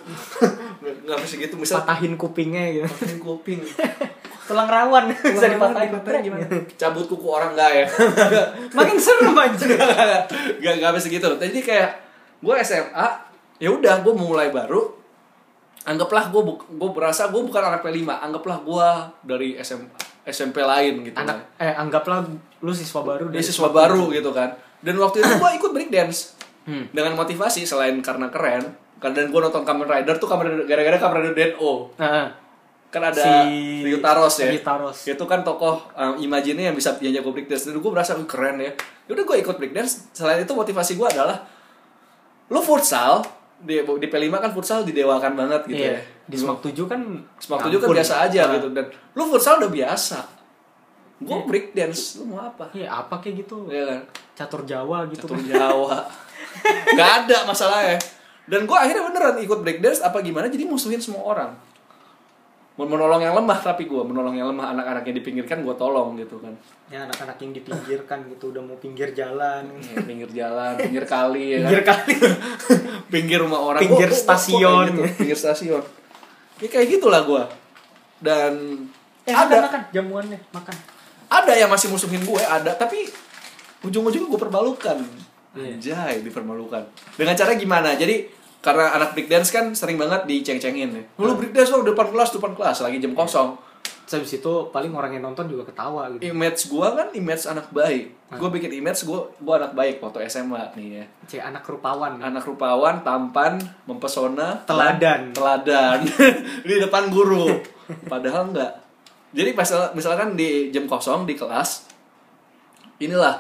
Speaker 2: enggak bisa gitu misal
Speaker 1: patahin kupingnya gitu
Speaker 2: patahin kuping
Speaker 1: tulang rawan bisa
Speaker 2: Orang-orang
Speaker 1: dipatahin Brek,
Speaker 2: gimana
Speaker 1: gitu.
Speaker 2: cabut kuku orang enggak ya
Speaker 1: makin seru anjir
Speaker 2: enggak enggak bisa gitu jadi kayak gue SMA ya udah gue mulai baru anggaplah gue gue berasa gue bukan anak P5 anggaplah gue dari SMA SMP lain gitu
Speaker 1: anak
Speaker 2: kan.
Speaker 1: eh anggaplah lu siswa baru
Speaker 2: dia
Speaker 1: deh
Speaker 2: siswa baru gitu kan dan waktu itu gue ikut break dance
Speaker 1: Hmm.
Speaker 2: dengan motivasi selain karena keren karena dan gue nonton Kamen Rider tuh Kamen Rider- gara-gara Kamen Rider Deno
Speaker 1: Heeh.
Speaker 2: kan ada
Speaker 1: Si-
Speaker 2: Ryu Taros ya
Speaker 1: Ryu Taros.
Speaker 2: itu kan tokoh um, imajinnya yang bisa yang jago break dance dan gue merasa "Wih, keren ya udah gue ikut break dance selain itu motivasi gue adalah lu futsal di, di P5 kan futsal didewakan banget gitu
Speaker 1: iya.
Speaker 2: ya
Speaker 1: di semak 7 kan
Speaker 2: Sepak tujuh kan
Speaker 1: ampun.
Speaker 2: biasa aja
Speaker 1: Nah,
Speaker 2: gitu dan lu futsal udah biasa gue break dance lu mau apa
Speaker 1: Iya apa kayak gitu
Speaker 2: Iya kan
Speaker 1: catur Jawa gitu
Speaker 2: Catur Jawa Gak ada masalahnya Dan gue akhirnya beneran ikut breakdance apa gimana Jadi musuhin semua orang Men- Menolong yang lemah tapi gue Menolong yang lemah anak-anak yang dipinggirkan gue tolong gitu kan
Speaker 1: ya anak-anak yang dipinggirkan gitu udah mau pinggir jalan
Speaker 2: Ya, Pinggir jalan, pinggir kali ya kan?
Speaker 1: pinggir kali
Speaker 2: pinggir rumah orang
Speaker 1: Pinggir
Speaker 2: Gua- gua- gua- gua kayak
Speaker 1: stasiun.
Speaker 2: gitu, pinggir stasiun ya kayak gitulah gue dan
Speaker 1: eh
Speaker 2: ada
Speaker 1: ada makan jamuannya makan
Speaker 2: ada yang masih musuhin gue ada tapi ujung-ujungnya gue permalukan
Speaker 1: Iya.
Speaker 2: anjay dipermalukan dengan cara gimana jadi karena anak break dance kan sering banget diceng-cengin ya. Lu break dance lu depan kelas, depan kelas lagi jam kosong.
Speaker 1: Terus habis itu paling orang yang nonton juga ketawa gitu.
Speaker 2: image gua kan image anak baik gua bikin image gua gua anak baik waktu SMA nih ya
Speaker 1: Cek anak rupawan.
Speaker 2: anak rupawan tampan mempesona
Speaker 1: Teladan.
Speaker 2: teladan di depan guru padahal enggak jadi pas misalkan di jam kosong di kelas inilah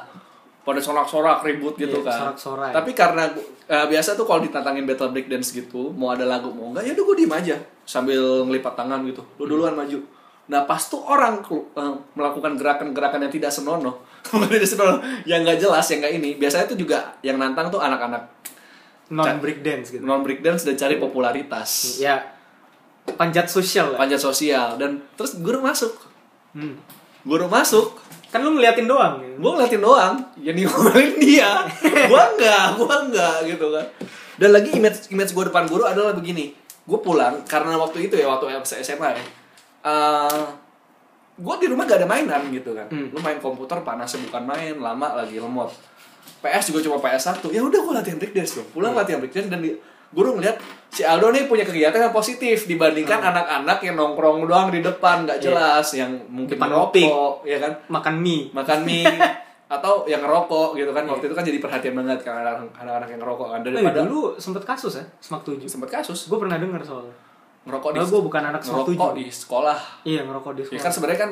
Speaker 2: pada sorak-sorak ribut gitu
Speaker 1: Iya,
Speaker 2: kan
Speaker 1: sorak-sorai.
Speaker 2: tapi karena gu- eh, biasa tuh kalau ditantangin battle break dance gitu mau ada lagu mau enggak ya udah gue diem aja sambil ngelipat tangan gitu lu duluan maju nah pas tuh orang kelu- eh, melakukan gerakan-gerakan yang tidak senonoh Bukan tidak senonoh yang nggak jelas yang nggak ini biasanya tuh juga yang nantang tuh anak-anak
Speaker 1: Non break dance gitu.
Speaker 2: non breakdance dan cari popularitas
Speaker 1: Ya panjat sosial lah.
Speaker 2: panjat sosial dan terus guru masuk
Speaker 1: Hmm.
Speaker 2: guru masuk
Speaker 1: Kan lu ngeliatin doang. gitu.
Speaker 2: gue ngeliatin doang yang diomelin Ya, dia gue enggak gue enggak gitu kan dan lagi image image gue depan guru adalah begini gue pulang karena waktu itu ya waktu SMA ya gue di rumah gak ada mainan gitu kan
Speaker 1: Hmm.
Speaker 2: lu main komputer panasnya bukan main lama lagi lemot PS juga cuma PS 1 ya udah gue latihan breakdance dong pulang latihan breakdance dan di- guru ngeliat si Aldo nih punya kegiatan yang positif dibandingkan anak-anak yang nongkrong doang di depan nggak
Speaker 1: Iya.
Speaker 2: jelas yang mungkin
Speaker 1: Depan
Speaker 2: merokok ya kan
Speaker 1: Makan mie.
Speaker 2: makan mie atau yang ngerokok gitu kan waktu itu kan jadi perhatian banget kan anak- anak-anak yang ngerokok kan
Speaker 1: Eh,
Speaker 2: daripada
Speaker 1: Iya. dulu sempet kasus ya, Smak 7.
Speaker 2: sempet kasus
Speaker 1: Gue pernah denger soalnya.
Speaker 2: ngerokok di
Speaker 1: Padahal gue bukan anak Smak
Speaker 2: ngerokok
Speaker 1: 7.
Speaker 2: di sekolah
Speaker 1: Iya, ngerokok di
Speaker 2: ya
Speaker 1: sekolah.
Speaker 2: kan sebenarnya kan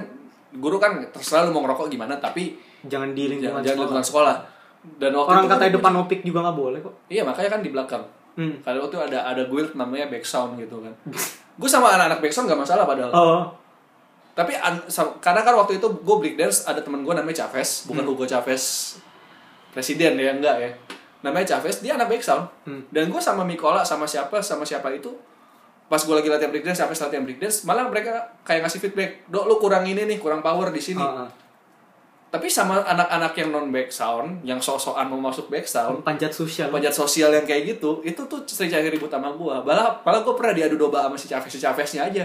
Speaker 2: guru kan terserah lu mau ngerokok gimana tapi
Speaker 1: Jangan di lingkungan
Speaker 2: jangan jangan di
Speaker 1: sekolah.
Speaker 2: lingkungan sekolah dan waktu
Speaker 1: Orang
Speaker 2: itu kan-
Speaker 1: katanya depan opik juga nggak boleh kok.
Speaker 2: iya makanya kan di belakang
Speaker 1: Hmm.
Speaker 2: kalau waktu itu ada ada guild namanya backsound gitu kan gue sama anak-anak backsound gak masalah padahal
Speaker 1: Oh,
Speaker 2: tapi an- sam- karena kan waktu itu gue break dance ada temen gue namanya Chavez bukan Hugo Chavez presiden ya enggak ya namanya Chavez dia anak backsound
Speaker 1: Hmm.
Speaker 2: dan gue sama Mikola sama siapa sama siapa itu pas gue lagi latihan break dance Chavez latihan break dance malah mereka kayak ngasih feedback dok lu kurang ini nih kurang power di sini
Speaker 1: oh, oh.
Speaker 2: tapi sama anak-anak yang non backsound yang sok-sokan mau masuk backsound
Speaker 1: panjat sosial.
Speaker 2: panjat sosial yang kayak gitu itu tuh sering cari ribut sama gua malah malah gua pernah diadu domba sama si Chavez si Chaveznya aja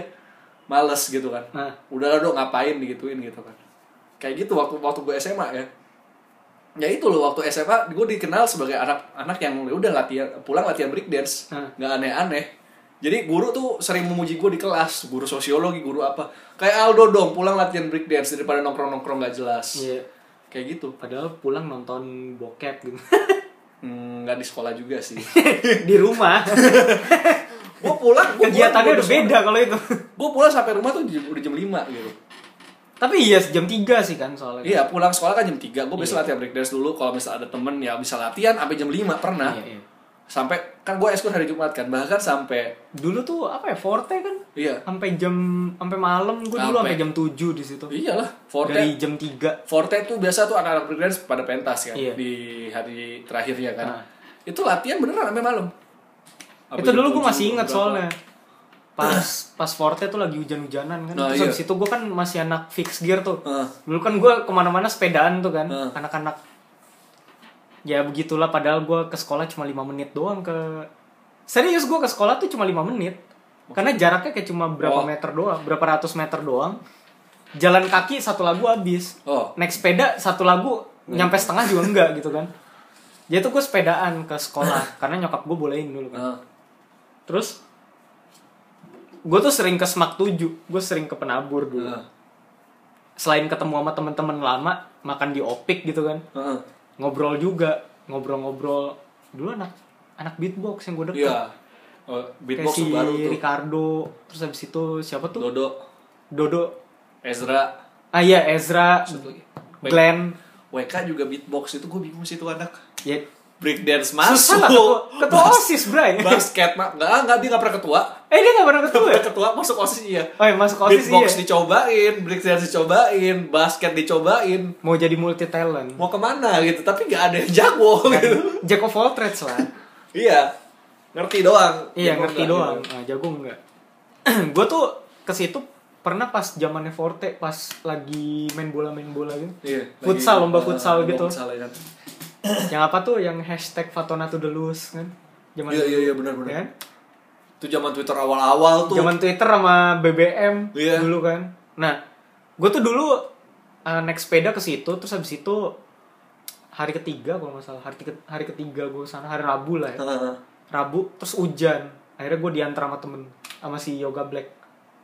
Speaker 2: males gitu kan
Speaker 1: Nah.
Speaker 2: udahlah dong ngapain digituin gitu kan kayak gitu waktu waktu gue SMA ya ya itu loh waktu SMA gue dikenal sebagai anak-anak yang ya udah latihan pulang latihan break dance
Speaker 1: Nah.
Speaker 2: nggak aneh-aneh jadi guru tuh sering memuji gue di kelas guru sosiologi guru apa kayak Aldo dong pulang latihan break dance daripada nongkrong-nongkrong nggak jelas
Speaker 1: Iya.
Speaker 2: kayak gitu
Speaker 1: Padahal pulang nonton bokep gitu.
Speaker 2: Hmm, nggak di sekolah juga sih
Speaker 1: di rumah.
Speaker 2: gue pulang gua pulang,
Speaker 1: Kegiatannya
Speaker 2: gua
Speaker 1: udah beda kalau itu.
Speaker 2: gue pulang sampai rumah tuh j- udah jam 5 gitu
Speaker 1: Tapi iya jam 3 sih kan soalnya.
Speaker 2: iya pulang sekolah kan jam 3 gue
Speaker 1: Iya.
Speaker 2: bisa latihan breakdance dulu kalau misal ada temen ya bisa latihan sampai jam 5 pernah
Speaker 1: Iya, iya.
Speaker 2: sampai kan gue eskul hari Jumat kan bahkan sampai
Speaker 1: Dulu tuh apa ya Forte kan
Speaker 2: iya
Speaker 1: sampai jam sampai malam gue dulu
Speaker 2: Sampai.
Speaker 1: sampai jam 7 di situ.
Speaker 2: iyalah forte
Speaker 1: Dari jam 3.
Speaker 2: forte tuh biasa tuh anak-anak breakdance pada pentas kan
Speaker 1: Iya.
Speaker 2: di hari terakhirnya kan
Speaker 1: Nah.
Speaker 2: itu latihan beneran sampai malam Sampai
Speaker 1: itu
Speaker 2: jam
Speaker 1: dulu gue
Speaker 2: 7,
Speaker 1: masih ingat
Speaker 2: berapa.
Speaker 1: soalnya. Pas pas Forte tuh lagi hujan-hujanan kan.
Speaker 2: Nah,
Speaker 1: Terus
Speaker 2: iya.
Speaker 1: habis itu gue kan masih anak fix gear tuh.
Speaker 2: Heeh.
Speaker 1: Dulu kan gue kemana-mana sepedaan tuh kan.
Speaker 2: Heeh.
Speaker 1: Anak-anak. Ya begitulah padahal gue ke sekolah cuma 5 menit doang ke... Serius gue ke sekolah tuh cuma 5 menit. Karena jaraknya kayak cuma berapa
Speaker 2: Oh.
Speaker 1: meter doang. Berapa ratus meter doang. Jalan kaki satu lagu habis.
Speaker 2: oh
Speaker 1: Naik sepeda satu lagu
Speaker 2: Nah, iya.
Speaker 1: nyampe setengah juga enggak gitu kan. Jadi tuh gue sepedaan ke sekolah. karena nyokap gue bolehin dulu kan.
Speaker 2: Heeh.
Speaker 1: Terus gue tuh sering ke Semak 7, gue sering ke penabur dulu.
Speaker 2: Heeh.
Speaker 1: Selain ketemu sama temen-temen lama, makan di opik gitu kan,
Speaker 2: Heeh.
Speaker 1: ngobrol juga, ngobrol-ngobrol. Dulu anak anak beatbox yang gue deket,
Speaker 2: iya Oh,
Speaker 1: kayak
Speaker 2: beatbox
Speaker 1: si
Speaker 2: tuh baru tuh
Speaker 1: Ricardo, terus habis itu siapa tuh?
Speaker 2: Dodo
Speaker 1: Dodo,
Speaker 2: Ezra
Speaker 1: ah iya Ezra,
Speaker 2: Satu lagi.
Speaker 1: Glenn,
Speaker 2: WK juga beatbox itu gue bingung sih itu anak
Speaker 1: ya
Speaker 2: breakdance
Speaker 1: susah
Speaker 2: masuk
Speaker 1: lah ketua, ketua
Speaker 2: Bas-
Speaker 1: osis bray.
Speaker 2: basket mah nggak nggak dia nggak pernah ketua
Speaker 1: eh dia gak pernah ketua.
Speaker 2: Nggak
Speaker 1: ya?
Speaker 2: ketua masuk osis iya
Speaker 1: Oh iya, masuk osis
Speaker 2: beatbox
Speaker 1: iya.
Speaker 2: dicobain breakdance dicobain basket dicobain
Speaker 1: Mau jadi multi talent,
Speaker 2: mau kemana gitu tapi nggak ada yang jago
Speaker 1: Iya.
Speaker 2: gitu
Speaker 1: Kan jack of all trades lah.
Speaker 2: iya ngerti doang
Speaker 1: Iya
Speaker 2: Jago
Speaker 1: ngerti
Speaker 2: nggak,
Speaker 1: doang.
Speaker 2: gitu.
Speaker 1: Nah, jago enggak? gue tuh ke situ pernah pas zamannya Forte pas lagi main bola main bola gitu.
Speaker 2: Iya, lagi-
Speaker 1: Futsal, lomba
Speaker 2: eh,
Speaker 1: futsal gitu.
Speaker 2: futsal, ya kan.
Speaker 1: yang apa tuh yang hashtag Fatona to the Loose kan? Zaman
Speaker 2: Iya, iya,
Speaker 1: dulu,
Speaker 2: iya, benar, benar.
Speaker 1: ya kan?
Speaker 2: Itu zaman Twitter awal-awal tuh.
Speaker 1: Zaman Twitter sama BBM
Speaker 2: Iya.
Speaker 1: dulu kan. Nah, gue tuh dulu uh, naik sepeda ke situ terus habis itu hari ketiga kalau nggak salah hari, ke- hari ketiga gue sana hari Rabu lah ya.
Speaker 2: Heeh.
Speaker 1: Rabu terus hujan. Akhirnya gue diantar sama temen sama si Yoga Black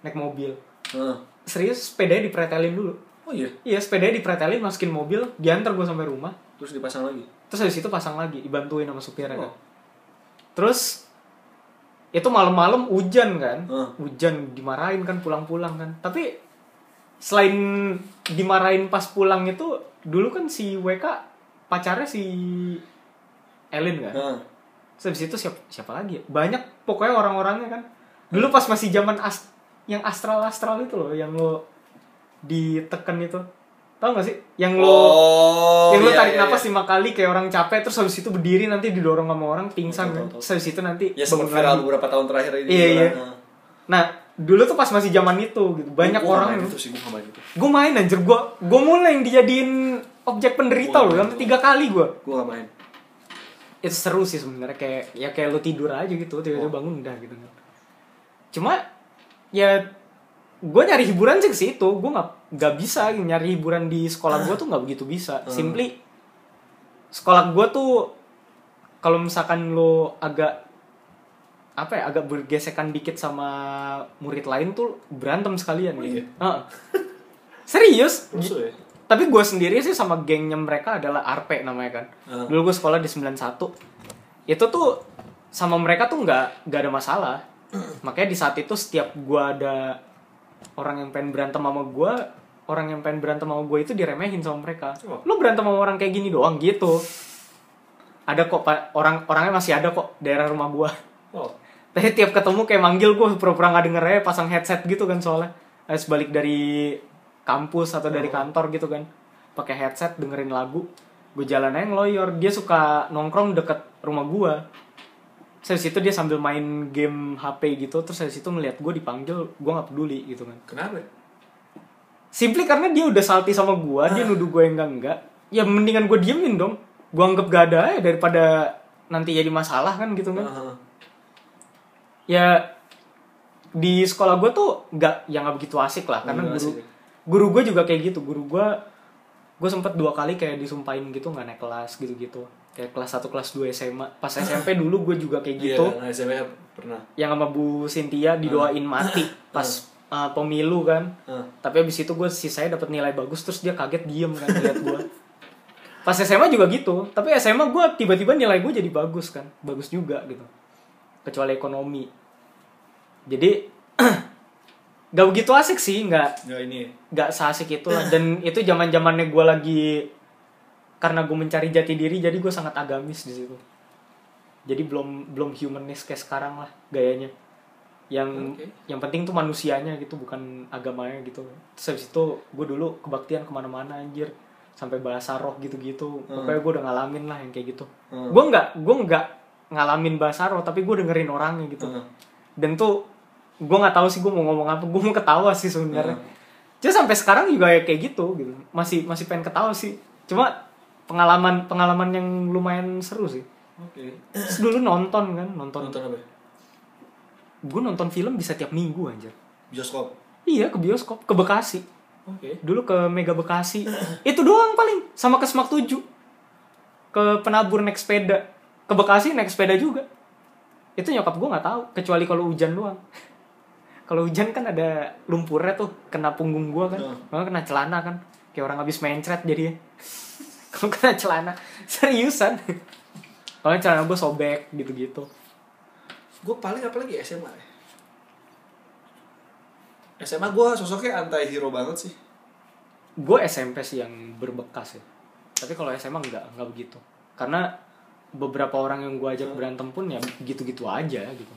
Speaker 1: naik mobil.
Speaker 2: Heeh.
Speaker 1: serius sepedanya dipretelin dulu
Speaker 2: Oh iya.
Speaker 1: iya sepedanya dipretelin masukin mobil diantar gue sampai rumah
Speaker 2: Terus dipasang lagi.
Speaker 1: terus habis itu pasang lagi dibantuin sama supirnya kan
Speaker 2: Oh.
Speaker 1: terus itu malam-malam hujan kan
Speaker 2: Heeh.
Speaker 1: hujan dimarahin kan pulang-pulang kan tapi selain dimarahin pas pulang itu dulu kan si WK pacarnya si Elin kan
Speaker 2: Nah,
Speaker 1: Terus habis itu siapa, siapa lagi ya? Banyak pokoknya orang-orangnya kan. Dulu pas masih zaman as yang astral-astral itu loh yang lo diteken itu. Tahu gak sih? Yang lo
Speaker 2: oh,
Speaker 1: yang lo
Speaker 2: iya,
Speaker 1: tarik
Speaker 2: iya,
Speaker 1: napas
Speaker 2: iya.
Speaker 1: lima kali kayak orang capek terus habis itu berdiri nanti didorong sama orang pingsan
Speaker 2: Betul,
Speaker 1: kan.
Speaker 2: betul.
Speaker 1: Terus habis itu nanti
Speaker 2: Ya sempat
Speaker 1: bangun
Speaker 2: viral
Speaker 1: lagi.
Speaker 2: beberapa tahun terakhir ini.
Speaker 1: Iya, iya.
Speaker 2: Nah.
Speaker 1: Nah, dulu tuh pas masih zaman itu gitu. Banyak
Speaker 2: Gua nggak
Speaker 1: orang
Speaker 2: main
Speaker 1: yang-
Speaker 2: itu sih gua nggak main itu.
Speaker 1: Gue main anjir gue gue mulai yang dijadiin objek penderita
Speaker 2: Gua
Speaker 1: loh
Speaker 2: main
Speaker 1: sampai
Speaker 2: tuh.
Speaker 1: tiga kali gue
Speaker 2: Gua nggak main.
Speaker 1: itu seru sih sebenarnya kayak ya kayak lu tidur aja gitu tiba-tiba bangun udah gitu kan cuma ya gue nyari hiburan sih ke situ gue nggak nggak bisa nyari hiburan di sekolah gue tuh nggak begitu bisa
Speaker 2: Hmm.
Speaker 1: simply sekolah gue tuh kalau misalkan lo agak apa ya agak bergesekan dikit sama murid lain tuh berantem sekalian
Speaker 2: Oh
Speaker 1: gitu.
Speaker 2: iya?
Speaker 1: Heeh. serius
Speaker 2: Rusuh ya?
Speaker 1: tapi gue sendiri sih sama gengnya mereka adalah Arpe namanya kan.
Speaker 2: Heeh.
Speaker 1: Dulu gue sekolah di 91. Itu tuh sama mereka tuh nggak nggak ada masalah. Makanya di saat itu setiap gue ada orang yang pengen berantem sama gue, orang yang pengen berantem sama gue itu diremehin sama mereka.
Speaker 2: Oh.
Speaker 1: Lu berantem sama orang kayak gini doang gitu. Ada kok Pak. orang orangnya masih ada kok daerah rumah gue.
Speaker 2: Oh.
Speaker 1: Tapi tiap ketemu kayak manggil gue pura-pura gak denger aja pasang headset gitu kan soalnya Habis balik dari kampus atau dari kantor gitu kan pakai headset dengerin lagu Gue jalan aja ngeloyor Dia suka nongkrong deket rumah gue Terus habis itu dia sambil main game HP gitu Terus habis itu ngeliat gue dipanggil Gue gak peduli gitu kan
Speaker 2: Kenapa? ya?
Speaker 1: Simply karena dia udah salty sama gue Dia nuduh gue yang enggak-enggak Ya mendingan gue diemin dong Gue anggap gak ada aja daripada nanti jadi masalah kan gitu kan
Speaker 2: Heeh.
Speaker 1: ya di sekolah gue tuh nggak yang nggak begitu asik lah karena
Speaker 2: Nggak
Speaker 1: guru
Speaker 2: asik ya.
Speaker 1: guru gue juga kayak gitu guru gue gue sempet dua kali kayak disumpahin gitu nggak naik kelas gitu gitu kayak kelas 1 kelas 2 SMA pas SMP dulu gue juga kayak gitu
Speaker 2: Iya, nah, SMA pernah.
Speaker 1: yang sama Bu Cynthia didoain mati pas
Speaker 2: Iya.
Speaker 1: uh, pemilu kan
Speaker 2: Heeh.
Speaker 1: tapi abis itu gue sisanya dapat nilai bagus terus dia kaget diem kan lihat gue pas SMA juga gitu tapi SMA gue tiba-tiba nilai gue jadi bagus kan bagus juga gitu kecuali ekonomi jadi gak begitu asik sih nggak
Speaker 2: Enggak ini. ya.
Speaker 1: nggak seasik itu lah dan itu zaman zamannya gue lagi karena gue mencari jati diri jadi gue sangat agamis di situ jadi belum belum humanis kayak sekarang lah gayanya yang
Speaker 2: Oke.
Speaker 1: yang penting tuh manusianya gitu bukan agamanya gitu terus habis itu gue dulu kebaktian kemana-mana anjir sampai bahasa roh gitu-gitu pokoknya gue udah ngalamin lah yang kayak gitu
Speaker 2: Hmm.
Speaker 1: gue nggak gue nggak ngalamin bahasa roh tapi gue dengerin orangnya gitu
Speaker 2: Hmm.
Speaker 1: dan tuh gue nggak tahu sih gue mau ngomong apa gue mau ketawa sih sebenarnya Cuma sampai sekarang juga ya kayak gitu gitu masih masih pengen ketawa sih cuma pengalaman pengalaman yang lumayan seru sih
Speaker 2: Oke.
Speaker 1: Terus dulu nonton kan nonton
Speaker 2: Nonton apa? ya?
Speaker 1: gue nonton film bisa tiap minggu anjir
Speaker 2: Bioskop.
Speaker 1: iya ke bioskop ke Bekasi
Speaker 2: Oke.
Speaker 1: dulu ke Mega Bekasi itu doang paling sama ke Semak 7 ke penabur naik sepeda ke Bekasi naik sepeda juga itu nyokap gue nggak tahu kecuali kalau hujan doang kalau hujan kan ada lumpurnya tuh kena punggung gue kan
Speaker 2: Heeh.
Speaker 1: malah kena celana kan kayak orang habis mencret jadi ya. kalau kena celana seriusan kalau celana gue sobek gitu-gitu
Speaker 2: Gue paling apa lagi SMA. ya? SMA gue sosoknya anti hero banget sih.
Speaker 1: gue SMP sih yang berbekas ya tapi kalau SMA nggak nggak begitu karena beberapa orang yang gue ajak berantem pun ya gitu-gitu aja gitu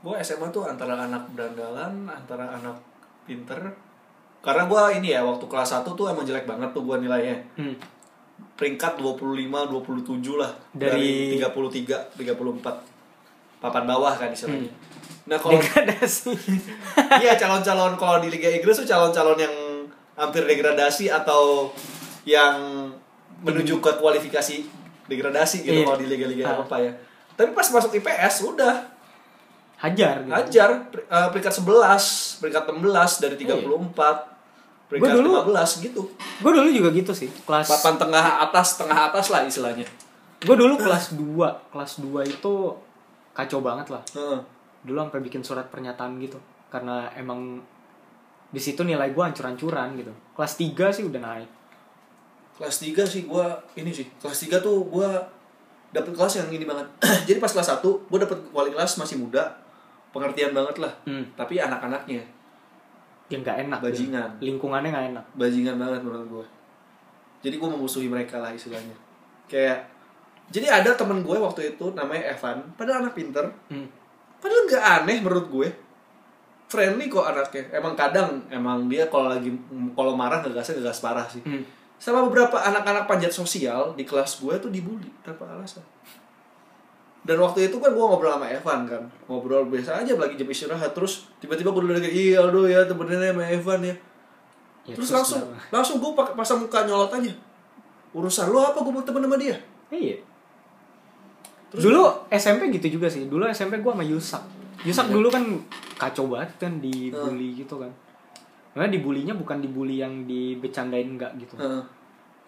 Speaker 2: gue SMA tuh antara anak berandalan antara anak pinter karena gue ini ya waktu kelas 1 tuh emang jelek banget tuh gue nilainya
Speaker 1: hmm.
Speaker 2: peringkat 25 27 lah
Speaker 1: Dari-
Speaker 2: 33 34 papan bawah kan istilahnya nah kalau
Speaker 1: degradasi
Speaker 2: iya calon-calon kalau di Liga Inggris tuh calon-calon yang hampir degradasi atau yang menuju ke kualifikasi degradasi gitu
Speaker 1: Iya.
Speaker 2: kalau di liga-liga
Speaker 1: Ah.
Speaker 2: apa ya tapi pas masuk IPS udah
Speaker 1: hajar gitu.
Speaker 2: Hajar per- eh, peringkat 11, peringkat 16 dari 34, peringkat
Speaker 1: Gua dulu-
Speaker 2: 15 gitu.
Speaker 1: gue dulu juga gitu sih kelas
Speaker 2: Papan tengah atas, tengah atas lah istilahnya.
Speaker 1: gue dulu kelas 2 kelas 2 itu kacau banget lah
Speaker 2: Heeh.
Speaker 1: dulu sampai bikin surat pernyataan gitu karena emang di situ nilai gue hancur-hancuran gitu kelas 3 sih udah naik
Speaker 2: kelas 3 sih gua ini sih kelas 3 tuh gua dapet kelas yang ini banget jadi pas kelas 1 gua dapet wali kelas masih muda pengertian banget lah
Speaker 1: Hmm.
Speaker 2: tapi anak-anaknya
Speaker 1: ya nggak enak gitu.
Speaker 2: Bajingan.
Speaker 1: lingkungannya nggak enak
Speaker 2: bajingan banget menurut gue jadi gue memusuhi mereka lah istilahnya kayak jadi ada temen gue waktu itu namanya Evan padahal anak pinter
Speaker 1: Hmm.
Speaker 2: padahal nggak aneh menurut gue friendly kok anaknya emang kadang emang dia kalau lagi kalau marah ngegasnya ngegas parah sih
Speaker 1: Hmm.
Speaker 2: sama beberapa anak-anak panjat sosial di kelas gue tuh dibully tanpa alasan dan waktu itu kan gue ngobrol sama Evan kan ngobrol biasa aja lagi jam istirahat terus tiba-tiba gue udah kayak iya Aldo ya temennya sama Evan ya
Speaker 1: Ya,
Speaker 2: terus, langsung
Speaker 1: kenapa?
Speaker 2: langsung gue pakai pasang muka nyolot aja urusan lo apa gue mau temen sama dia
Speaker 1: iya dulu SMP gitu juga sih dulu SMP gue sama Yusak Yusak
Speaker 2: Iya.
Speaker 1: dulu kan kacau banget kan dibully gitu kan Sebenarnya dibulinya bukan dibully yang dibecandain enggak gitu
Speaker 2: Heeh.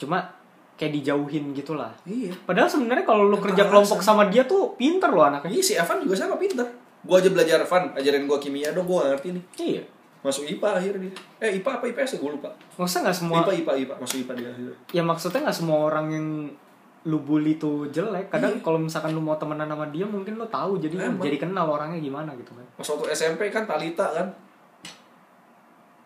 Speaker 1: cuma kayak dijauhin gitulah
Speaker 2: iya
Speaker 1: padahal sebenarnya kalau lu kerja kelompok sama dia tuh pinter loh anaknya
Speaker 2: iya si Evan juga sama pinter gue aja belajar Evan ajarin gue kimia dong gue ngerti nih
Speaker 1: iya
Speaker 2: masuk IPA akhirnya dia eh IPA apa IPS ya gue lupa
Speaker 1: maksudnya nggak semua
Speaker 2: IPA IPA IPA masuk IPA dia akhirnya
Speaker 1: ya maksudnya nggak semua orang yang lu bully tuh jelek kadang kalau misalkan lu mau temenan sama dia mungkin lu tahu jadi lu
Speaker 2: Iya. Emang.
Speaker 1: jadi kenal orangnya gimana gitu kan
Speaker 2: pas waktu SMP kan Talita kan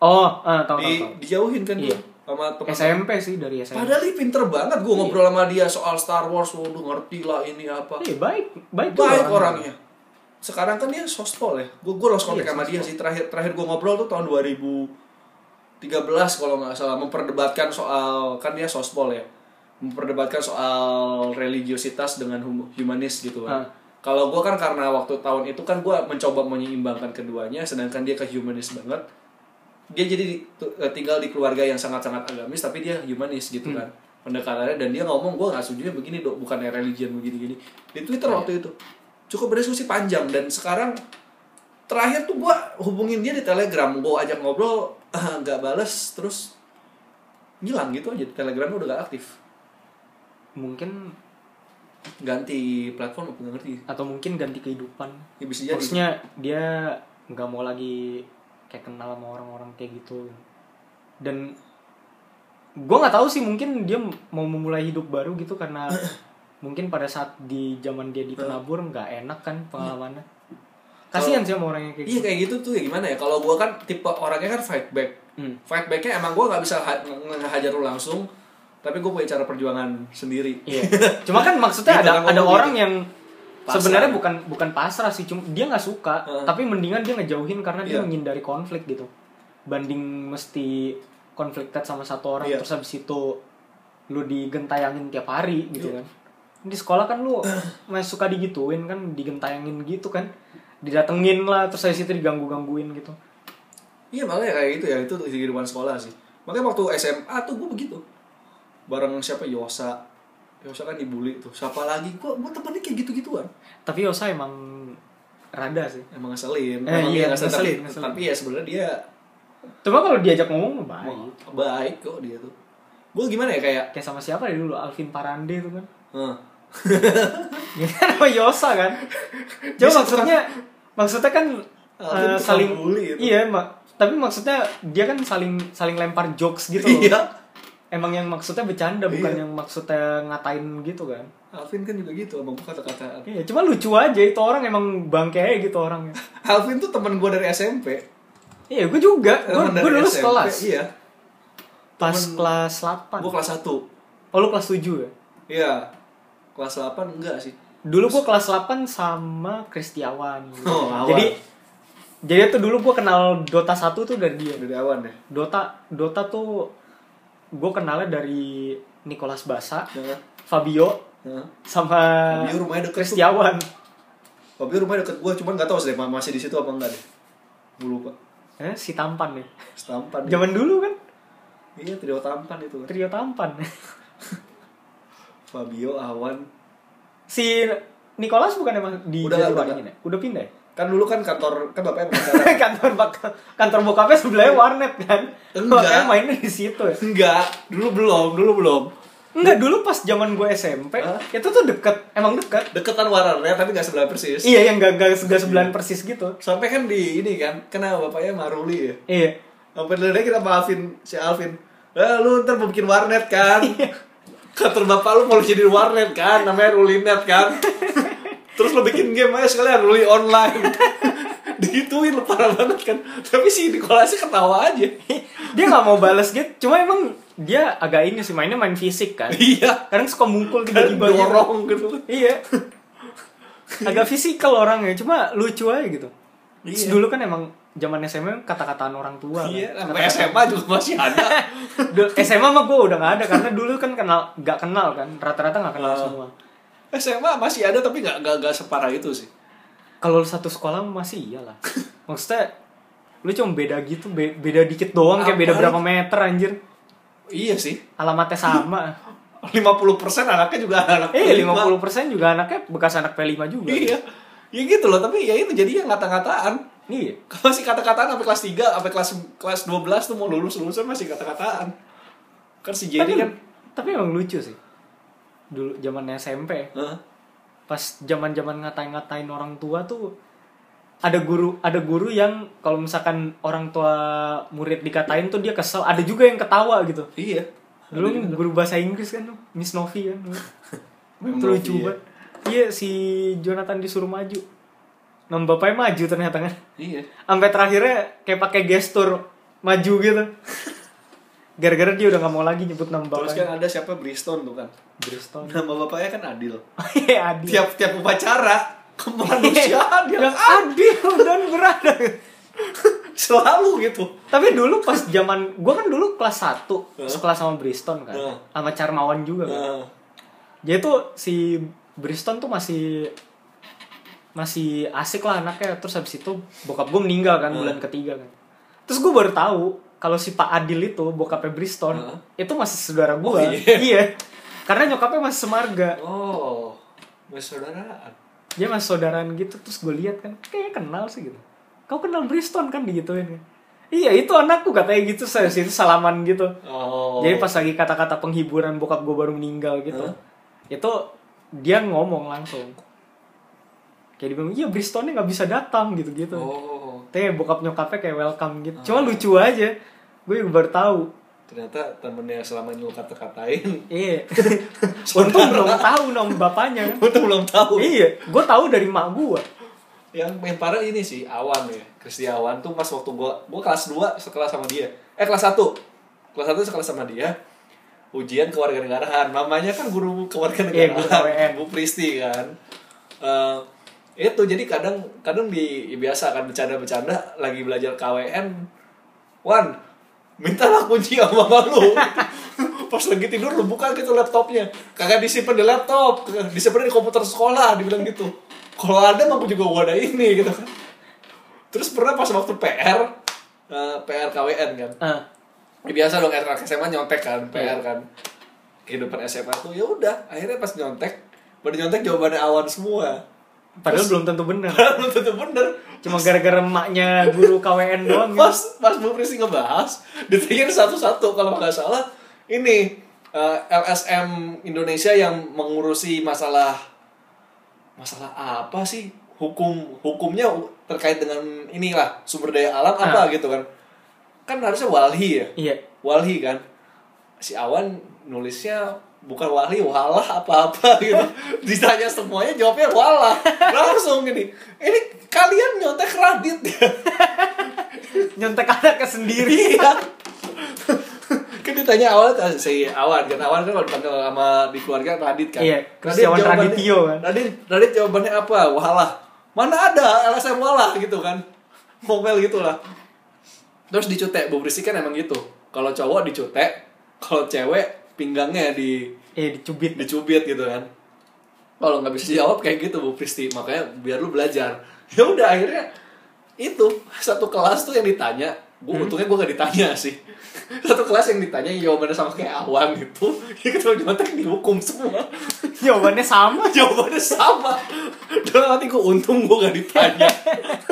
Speaker 1: oh eh, tahu tahu
Speaker 2: di,
Speaker 1: tahu
Speaker 2: dijauhin kan
Speaker 1: Iya.
Speaker 2: dia sama teman
Speaker 1: SMP sih dari SMP
Speaker 2: padahal dia pinter banget gue
Speaker 1: Iya.
Speaker 2: ngobrol sama dia soal Star Wars waduh ngerti lah ini apa
Speaker 1: Iya, baik baik tuh
Speaker 2: baik orangnya sekarang kan dia sospol ya gue gue lost kontak
Speaker 1: Iya,
Speaker 2: sama dia sih terakhir terakhir gue ngobrol tuh tahun 2013 kalau nggak salah memperdebatkan soal kan dia sospol ya memperdebatkan soal religiositas dengan hum- humanis gitu
Speaker 1: Ah.
Speaker 2: kan kalau gue kan karena waktu tahun itu kan gue mencoba menyeimbangkan keduanya sedangkan dia ke humanis banget dia jadi di- tu- eh, tinggal di keluarga yang sangat-sangat agamis tapi dia humanis gitu kan pendekatannya dan dia ngomong gue nggak setuju ya begini dok bukannya religion begini-gini di twitter waktu itu cukup berdiskusi panjang dan sekarang terakhir tuh gue hubungin dia di telegram gue ajak ngobrol eh, nggak bales terus ngilang gitu aja telegramnya udah gak aktif
Speaker 1: mungkin
Speaker 2: ganti platform aku nggak ngerti
Speaker 1: atau mungkin ganti kehidupan
Speaker 2: ya, bisa jadi
Speaker 1: maksudnya dia nggak mau lagi kayak kenal sama orang-orang kayak gitu dan gue nggak tahu sih mungkin dia mau memulai hidup baru gitu karena mungkin pada saat di zaman dia di penabur nggak enak kan pengalamannya kasihan sih sama orang yang kayak
Speaker 2: Iya
Speaker 1: gitu
Speaker 2: kayak gitu tuh ya gimana ya kalau gua kan tipe orangnya kan fight back
Speaker 1: Hmm.
Speaker 2: fight backnya emang gua nggak bisa ha- nge- ngehajar lu langsung tapi gue punya cara perjuangan sendiri
Speaker 1: Iya. Cuma kan maksudnya ada
Speaker 2: Gitu, kan
Speaker 1: ada
Speaker 2: ngomong
Speaker 1: orang yang
Speaker 2: Pasrah.
Speaker 1: sebenarnya bukan bukan pasrah sih, cuma dia nggak suka,
Speaker 2: Heeh.
Speaker 1: tapi mendingan dia ngejauhin karena dia
Speaker 2: Iya.
Speaker 1: menghindari konflik gitu. Banding mesti konflikted sama satu orang
Speaker 2: Iya.
Speaker 1: terus habis itu lu digentayangin tiap hari gitu
Speaker 2: Iya.
Speaker 1: kan. Di sekolah kan lu masih suka digituin kan, digentayangin gitu kan. Didatengin lah terus habis itu diganggu-gangguin gitu.
Speaker 2: iya makanya kayak gitu ya itu tuh kehidupan sekolah sih makanya waktu SMA tuh gue begitu bareng siapa Yosa Yosa kan dibully tuh siapa lagi gue gue temennya kayak gitu gituan
Speaker 1: Tapi Yosa emang rada sih.
Speaker 2: emang ngeselin
Speaker 1: Eh,
Speaker 2: emang
Speaker 1: iya,
Speaker 2: dia ngeselin, tapi,
Speaker 1: ngeselin, ngeselin.
Speaker 2: tapi ya sebenarnya dia
Speaker 1: Cuma kalau diajak ngomong baik.
Speaker 2: baik kok dia tuh gue gimana ya kayak eh,
Speaker 1: Kayak sama siapa ya dulu Alvin Parande itu kan.
Speaker 2: huh.
Speaker 1: Ya kan sama Yosa kan. Cuma maksudnya maksudnya kan eh,
Speaker 2: Ah, itu tukang
Speaker 1: saling
Speaker 2: bully itu.
Speaker 1: iya ma- tapi maksudnya dia kan saling saling lempar jokes gitu loh.
Speaker 2: iya
Speaker 1: Emang yang maksudnya bercanda bukan
Speaker 2: Iya.
Speaker 1: yang maksudnya ngatain gitu kan.
Speaker 2: Alvin kan juga gitu emang kata-kata
Speaker 1: Iya, cuma lucu aja itu orang emang bangke aja gitu orangnya.
Speaker 2: Alvin tuh teman gue dari SMP
Speaker 1: Iya, gue juga.
Speaker 2: Teman
Speaker 1: Gue
Speaker 2: dari
Speaker 1: dulu
Speaker 2: SMP,
Speaker 1: sekolah.
Speaker 2: Iya.
Speaker 1: Pas
Speaker 2: Temen-
Speaker 1: kelas
Speaker 2: Gue
Speaker 1: 8.
Speaker 2: kelas 1.
Speaker 1: Oh, lu kelas 7 ya?
Speaker 2: Iya. Kelas 8 enggak sih.
Speaker 1: Dulu gue kelas 8 sama Kristiawan. gitu.
Speaker 2: Oh, lawan.
Speaker 1: jadi jadi tuh dulu gue kenal Dota 1 tuh dari dia.
Speaker 2: Dari awan ya.
Speaker 1: Dota Dota tuh gue kenalnya dari Nicholas Basa,
Speaker 2: Jangan.
Speaker 1: Fabio
Speaker 2: Iya kan? Heeh.
Speaker 1: sama
Speaker 2: Fabio rumahnya deket tuh.
Speaker 1: Kristiawan.
Speaker 2: Tapi rumahnya deket gue cuman gak tahu sih ma- masih di situ apa enggak deh. Gue lupa.
Speaker 1: Eh, si tampan nih.
Speaker 2: Setampan. ya.
Speaker 1: Zaman dulu kan
Speaker 2: Iya, trio tampan itu kan.
Speaker 1: trio tampan.
Speaker 2: Fabio, Awan.
Speaker 1: si Nicholas bukan emang di
Speaker 2: Udah,
Speaker 1: Jatiwangi
Speaker 2: udah.
Speaker 1: ya? Udah pindah. ya?
Speaker 2: Kan dulu kan kantor kan bapaknya pengacara.
Speaker 1: kantor bak- kantor bokapnya sebelahnya warnet kan.
Speaker 2: Enggak.
Speaker 1: Makanya mainnya di situ. ya.
Speaker 2: enggak, dulu belum, dulu belum.
Speaker 1: Enggak dulu pas zaman gue SMP,
Speaker 2: Hah?
Speaker 1: itu tuh deket, emang deket.
Speaker 2: Deketan warnanya tapi gak sebelah persis.
Speaker 1: Iya yang gak, gak, gak sebelahan persis gitu.
Speaker 2: Sampai kan di ini kan, kenapa bapaknya Maruli ya?
Speaker 1: Iya.
Speaker 2: Sampai dari kita maafin si Alvin. Eh, lu ntar mau bikin warnet kan? Kantor bapak lu mau jadi warnet kan? Namanya Rulinet kan? Terus lu bikin game aja sekalian Ruli online. Digituin lu parah banget kan. Tapi si Nikolasnya ketawa aja.
Speaker 1: dia nggak mau balas gitu cuma emang dia agak ini sih mainnya main fisik kan
Speaker 2: Iya.
Speaker 1: kadang suka mukul
Speaker 2: Kan
Speaker 1: tiba-tiba gitu.
Speaker 2: dorong gitu.
Speaker 1: iya agak fisikal orangnya cuma lucu aja gitu Terus
Speaker 2: Iya.
Speaker 1: dulu kan emang zaman SMA kata-kataan orang tua kan.
Speaker 2: Iya, sampai
Speaker 1: Kata-kata-
Speaker 2: SMA juga masih ada.
Speaker 1: Du- SMA mah gue udah nggak ada karena dulu kan kenal nggak kenal kan rata-rata nggak kenal
Speaker 2: Oh.
Speaker 1: semua
Speaker 2: SMA masih ada tapi nggak nggak nggak separah itu sih.
Speaker 1: kalau satu sekolah masih iyalah maksudnya lu cuma beda gitu be- beda dikit doang kayak beda
Speaker 2: Apaan?
Speaker 1: berapa meter anjir
Speaker 2: Iya sih.
Speaker 1: alamatnya sama
Speaker 2: 50% anaknya juga anak
Speaker 1: eh
Speaker 2: kelima.
Speaker 1: 50% juga anaknya bekas anak P5 juga
Speaker 2: Iya. Ya gitu loh, tapi ya itu jadi yang ngata-ngataan.
Speaker 1: iya
Speaker 2: Masih kata-kataan sampai kelas 3, sampai kelas kelas 12 tuh mau lulus lulusan masih kata-kataan. Kan si Jenny
Speaker 1: tapi,
Speaker 2: kan
Speaker 1: tapi emang lucu sih dulu zamannya SMP
Speaker 2: Hah?
Speaker 1: pas zaman zaman ngatain-ngatain orang tua tuh ada guru ada guru yang kalau misalkan orang tua murid dikatain tuh dia kesel ada juga yang ketawa gitu
Speaker 2: Iya.
Speaker 1: dulu kan guru bahasa Inggris kan tuh, Miss Novi kan
Speaker 2: Memang
Speaker 1: itu lucu
Speaker 2: iya.
Speaker 1: banget iya si Jonathan disuruh maju nama bapaknya maju ternyata kan
Speaker 2: Iya.
Speaker 1: sampai terakhirnya kayak pakai gestur maju gitu gara-gara dia udah nggak mau lagi nyebut nama
Speaker 2: Terus
Speaker 1: bapaknya
Speaker 2: kan ada siapa Briston tuh kan.
Speaker 1: Bristol
Speaker 2: Nama bapaknya kan Adil.
Speaker 1: iya Adi Iya,
Speaker 2: Tiap tiap upacara kemanusiaan
Speaker 1: yang
Speaker 2: yang
Speaker 1: adil dan berada
Speaker 2: selalu gitu.
Speaker 1: Tapi dulu pas zaman gua kan dulu kelas 1
Speaker 2: Heeh.
Speaker 1: sekolah sama Briston kan.
Speaker 2: Heeh.
Speaker 1: Sama Carmawan juga kan.
Speaker 2: Nah,
Speaker 1: Dia tuh si Briston tuh masih masih asik lah anaknya terus habis itu bokap gue meninggal kan bulan
Speaker 2: Hmm.
Speaker 1: ketiga kan. Terus gue baru tahu kalau si Pak Adil itu bokapnya Briston
Speaker 2: Heeh.
Speaker 1: itu masih saudara gue.
Speaker 2: Hmm. Oh, iya.
Speaker 1: Karena nyokapnya masih semarga.
Speaker 2: Oh, persaudaraan.
Speaker 1: Dia masih saudaraan gitu terus gue lihat kan kayak kenal sih gitu. Kau kenal Briston kan digituin kan. Iya itu anakku katanya gitu saya itu salaman gitu.
Speaker 2: Oh.
Speaker 1: Jadi pas lagi kata-kata penghiburan bokap gue baru meninggal gitu,
Speaker 2: Hah?
Speaker 1: itu dia ngomong langsung. Kayak dia bilang, iya Bristonnya nggak bisa datang gitu-gitu.
Speaker 2: Oh, Ah.
Speaker 1: Teh bokap nyokapnya kayak welcome gitu. Cuma lucu aja. Gue juga baru tahu.
Speaker 2: ternyata temennya yang selama ini lu kata-katain.
Speaker 1: Iya. Untung belum tahu nama bapaknya kan.
Speaker 2: Gue tuh belum tahu.
Speaker 1: iya, gue tahu dari mak gue.
Speaker 2: Yang main parah ini sih Awan ya. Kristi Awan tuh pas waktu gua gua kelas 2 sekelas sama dia. Eh kelas 1. Kelas 1 sekelas sama dia. Ujian kewarganegaraan. Mamanya kan guru
Speaker 1: Iya, guru
Speaker 2: kewarganegaraan.
Speaker 1: KWN.
Speaker 2: Bu Pristi kan. Eh, itu jadi kadang kadang di ya biasa kan bercanda-bercanda lagi belajar KWN. Wan, mintalah kunci sama mama lu. Pas lagi tidur lu buka gitu laptopnya. Kagak disimpan di laptop, kagak disimpan di komputer sekolah, dibilang gitu. Kalau ada mampu juga gua ada ini gitu kan. Terus pernah pas waktu PR, eh, PR KWN kan.
Speaker 1: Ah,
Speaker 2: Ya, biasa dong anak SMA nyontek kan PR kan kehidupan SMA aku ya udah akhirnya pas nyontek pada nyontek jawabannya awan semua
Speaker 1: padahal belum tentu benar.
Speaker 2: padahal belum tentu bener
Speaker 1: Cuma gara-gara maknya guru KWN doang. gitu.
Speaker 2: pas pas Bu Prisi ngebahas ditanyain satu-satu kalau nggak salah ini eh, LSM Indonesia yang mengurusi masalah masalah apa sih hukum hukumnya terkait dengan inilah sumber daya alam apa gitu kan kan harusnya walhi ya
Speaker 1: Iya.
Speaker 2: Walhi kan si Awan nulisnya bukan Walhi walah apa-apa gitu ditanya semuanya jawabnya walah langsung gini ini kalian nyontek Radit ya
Speaker 1: Nyontek anaknya sendiri.
Speaker 2: iya kan ditanya Awan ah, si Awan kan Awan kan kalau dipanggil sama di keluarga Radit kan
Speaker 1: Iya,
Speaker 2: Radit
Speaker 1: Kristiawan
Speaker 2: jawabannya-
Speaker 1: Radityo kan.
Speaker 2: Radit Radit jawabannya apa walah mana ada LSM walah gitu kan ngomel gitu lah Terus dicutek, Bu Prisi kan emang gitu. Kalau cowok dicutek, kalau cewek pinggangnya di
Speaker 1: Eh dicubit.
Speaker 2: dicubit gitu kan. Kalau nggak bisa jawab kayak gitu Bu Pristi, makanya biar lu belajar. Ya udah akhirnya itu satu kelas tuh yang ditanya, gue untungnya gue gak ditanya sih. Satu kelas yang ditanya jawabannya sama kayak awan gitu, ya ketemu nyontek dihukum semua.
Speaker 1: Jawabannya sama.
Speaker 2: Jawabannya sama. Dalam hati gue untung gue gak ditanya.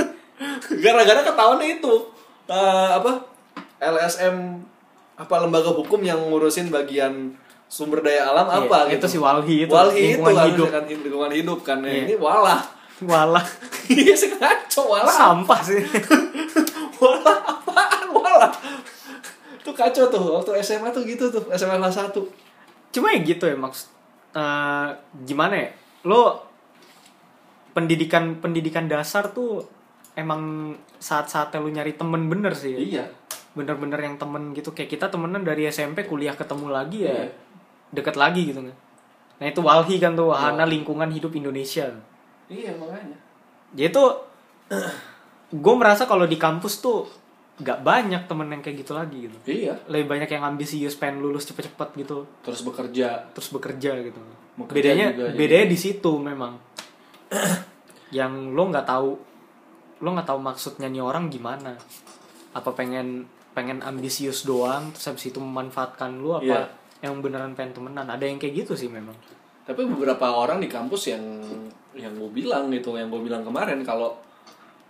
Speaker 2: Gara-gara ketahuannya itu Eh, apa LSM apa lembaga hukum yang ngurusin bagian sumber daya alam
Speaker 1: Iya,
Speaker 2: apa
Speaker 1: itu
Speaker 2: gitu.
Speaker 1: si Walhi itu,
Speaker 2: Walhi itu
Speaker 1: lingkungan
Speaker 2: harusnya
Speaker 1: hidup.
Speaker 2: kan lingkungan hidup kan ya.
Speaker 1: Iya.
Speaker 2: ini walah.
Speaker 1: Walah.
Speaker 2: Iya sih ngaco walah.
Speaker 1: Sampah sih.
Speaker 2: Walah apaan walah. kacau tuh waktu SMA tuh gitu tuh SMA kelas 1
Speaker 1: Cuma ya gitu ya maksud eh, gimana ya? Lo pendidikan pendidikan dasar tuh emang saat-saatnya lu nyari temen bener sih. ya.
Speaker 2: iya
Speaker 1: Bener-bener yang temen gitu kayak kita temenan dari SMP kuliah ketemu lagi ya.
Speaker 2: Iya.
Speaker 1: Deket lagi gitu kan. Nah itu Walhi kan tuh wahana lingkungan hidup Indonesia.
Speaker 2: iya makanya
Speaker 1: Jadi tuh gue merasa kalau di kampus tuh gak banyak temen yang kayak gitu lagi gitu.
Speaker 2: iya
Speaker 1: Lebih banyak yang ambisius pengen lulus cepet-cepet gitu.
Speaker 2: terus bekerja
Speaker 1: terus bekerja gitu.
Speaker 2: Bekerja
Speaker 1: bedanya
Speaker 2: juga, jadi-
Speaker 1: bedanya di situ memang. yang lo nggak tahu lo nggak tahu maksudnya nih orang gimana. Apa pengen pengen ambisius doang terus habis itu memanfaatkan lo apa
Speaker 2: Iya.
Speaker 1: yang beneran pengen temenan. Ada yang kayak gitu sih memang.
Speaker 2: tapi beberapa orang di kampus yang yang gue bilang gitu yang gue bilang kemarin kalau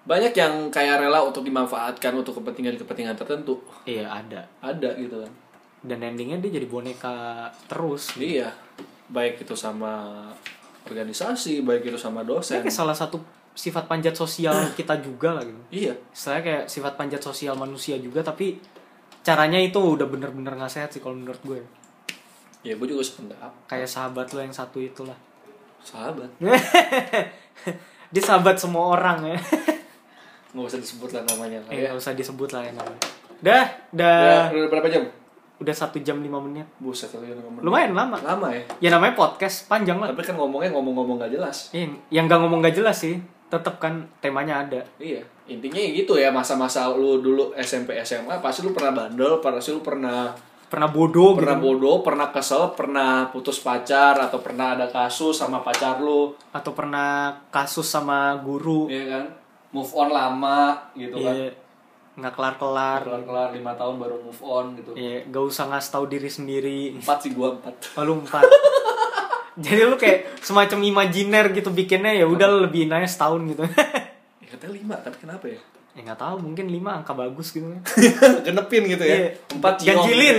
Speaker 2: banyak yang kayak rela untuk dimanfaatkan untuk kepentingan-kepentingan tertentu
Speaker 1: Iya, ada.
Speaker 2: ada gitu kan
Speaker 1: Dan endingnya dia jadi boneka terus. Dia
Speaker 2: iya baik itu sama organisasi baik itu sama dosen
Speaker 1: kayak salah satu sifat panjat sosial kita juga lah gitu.
Speaker 2: iya
Speaker 1: Istilahnya kayak sifat panjat sosial manusia juga tapi caranya itu udah bener-bener nggak sehat sih kalau menurut gue.
Speaker 2: ya gue juga sependapat
Speaker 1: kayak sahabat lo yang satu itulah
Speaker 2: sahabat
Speaker 1: dia sahabat semua orang ya
Speaker 2: nggak usah disebut lah namanya lah
Speaker 1: Eh,
Speaker 2: ya.
Speaker 1: nggak usah disebut lah ya namanya dah dah
Speaker 2: Udah- udah berapa jam
Speaker 1: udah satu jam lima menit
Speaker 2: buset satu jam lama
Speaker 1: lumayan lama
Speaker 2: lama ya
Speaker 1: ya namanya podcast panjang lah
Speaker 2: tapi kan ngomongnya ngomong-ngomong gak jelas
Speaker 1: Eh, yang gak ngomong gak jelas sih tetap kan temanya ada
Speaker 2: Iya, intinya ya gitu ya masa-masa lu dulu SMP SMA pasti lu pernah bandel, pasti lu pernah
Speaker 1: pernah bodoh gitu
Speaker 2: pernah bodoh, pernah kesel, pernah putus pacar atau pernah ada kasus sama pacar lu,
Speaker 1: atau pernah kasus sama guru
Speaker 2: ya kan? Move on lama gitu kan.
Speaker 1: Iya, nggak kelar kelar
Speaker 2: Kelar-kelar 5 tahun baru move on gitu.
Speaker 1: gak usah ngasih tahu diri sendiri
Speaker 2: Empat sih gua empat.
Speaker 1: Oh, lu empat. Jadi lu kayak semacam imajiner gitu bikinnya ya udah lu lebih naik setahun gitu. ya
Speaker 2: Ya katanya lima, tapi kenapa ya?
Speaker 1: nggak tahu mungkin lima angka bagus gitu ya.
Speaker 2: Genepin gitu
Speaker 1: Iya.
Speaker 2: ya. Empat ciong.
Speaker 1: Ganjilin.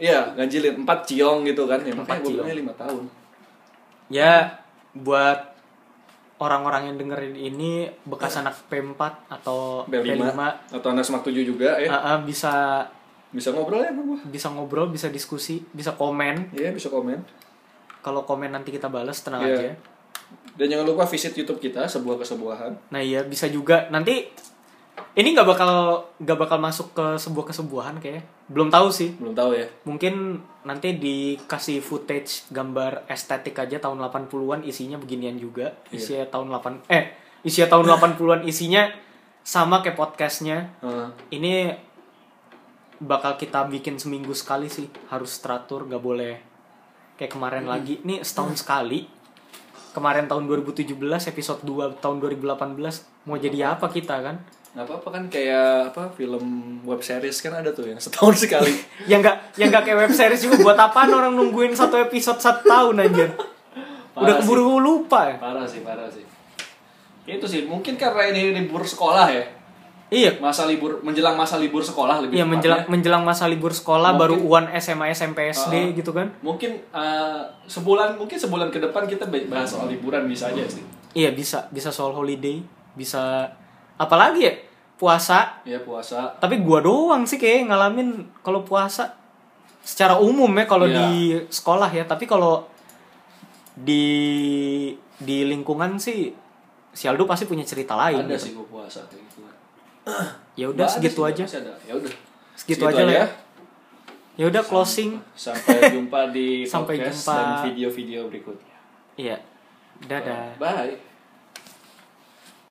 Speaker 2: Iya, ganjilin. Empat ciong gitu kan. Ya, makanya
Speaker 1: Empat
Speaker 2: gue
Speaker 1: ciong.
Speaker 2: bilangnya lima tahun.
Speaker 1: Ya buat orang-orang yang dengerin ini bekas anak P4 atau
Speaker 2: B5.
Speaker 1: P5
Speaker 2: Atau anak semak tujuh juga ya.
Speaker 1: ah, ah, bisa
Speaker 2: Bisa ngobrol ya sama gue.
Speaker 1: bisa ngobrol, bisa diskusi, bisa komen.
Speaker 2: Iya, bisa komen.
Speaker 1: Kalau komen nanti kita balas tenang
Speaker 2: Iya.
Speaker 1: aja.
Speaker 2: Dan jangan lupa visit YouTube kita sebuah kesebuahan.
Speaker 1: Nah iya bisa juga nanti ini nggak bakal nggak bakal masuk ke sebuah kesebuahan kayaknya. Belum tahu sih.
Speaker 2: Belum tahu ya.
Speaker 1: Mungkin nanti dikasih footage gambar estetik aja tahun 80-an isinya beginian juga. Isinya tahun 8 eh isinya tahun 80-an isinya sama kayak podcastnya.
Speaker 2: Heeh.
Speaker 1: Ini bakal kita bikin seminggu sekali sih. Harus teratur, gak boleh kayak kemarin lagi. Ini setahun sekali. Kemarin tahun 2017 episode 2 tahun 2018 mau jadi apa kita kan?
Speaker 2: Nggak apa-apa kan kayak apa film web series kan ada tuh yang setahun sekali.
Speaker 1: yang nggak yang nggak kayak web series juga buat apaan orang nungguin satu episode satu tahun anjir udah
Speaker 2: Parah
Speaker 1: keburu lupa ya
Speaker 2: parah sih, parah sih. Itu sih mungkin karena ini libur sekolah ya.
Speaker 1: iya
Speaker 2: Masa libur menjelang masa libur sekolah lebih
Speaker 1: iya menjelang
Speaker 2: tepatnya.
Speaker 1: menjelang masa libur sekolah baru uan SMA SMP SD
Speaker 2: Ah.
Speaker 1: gitu kan
Speaker 2: Mungkin eh, sebulan mungkin sebulan ke depan kita be- bahas soal liburan bisa aja sih.
Speaker 1: iya bisa bisa soal holiday bisa apalagi ya puasa
Speaker 2: Ya puasa.
Speaker 1: tapi gua doang sih kayak ngalamin kalau puasa secara umum ya kalau
Speaker 2: Iya.
Speaker 1: di sekolah ya tapi kalau di di lingkungan sih Sialdo pasti punya cerita lain
Speaker 2: Ada
Speaker 1: gitu.
Speaker 2: sih gua puasa kayak gitu.
Speaker 1: ya udah
Speaker 2: Nggak ada
Speaker 1: segitu
Speaker 2: sih,
Speaker 1: aja
Speaker 2: masih ada. Ya udah.
Speaker 1: segitu aja lah ya. ya udah closing
Speaker 2: Sampai jumpa di
Speaker 1: Sampai
Speaker 2: podcast
Speaker 1: jumpa.
Speaker 2: dan video-video berikutnya.
Speaker 1: iya dadah
Speaker 2: Bye.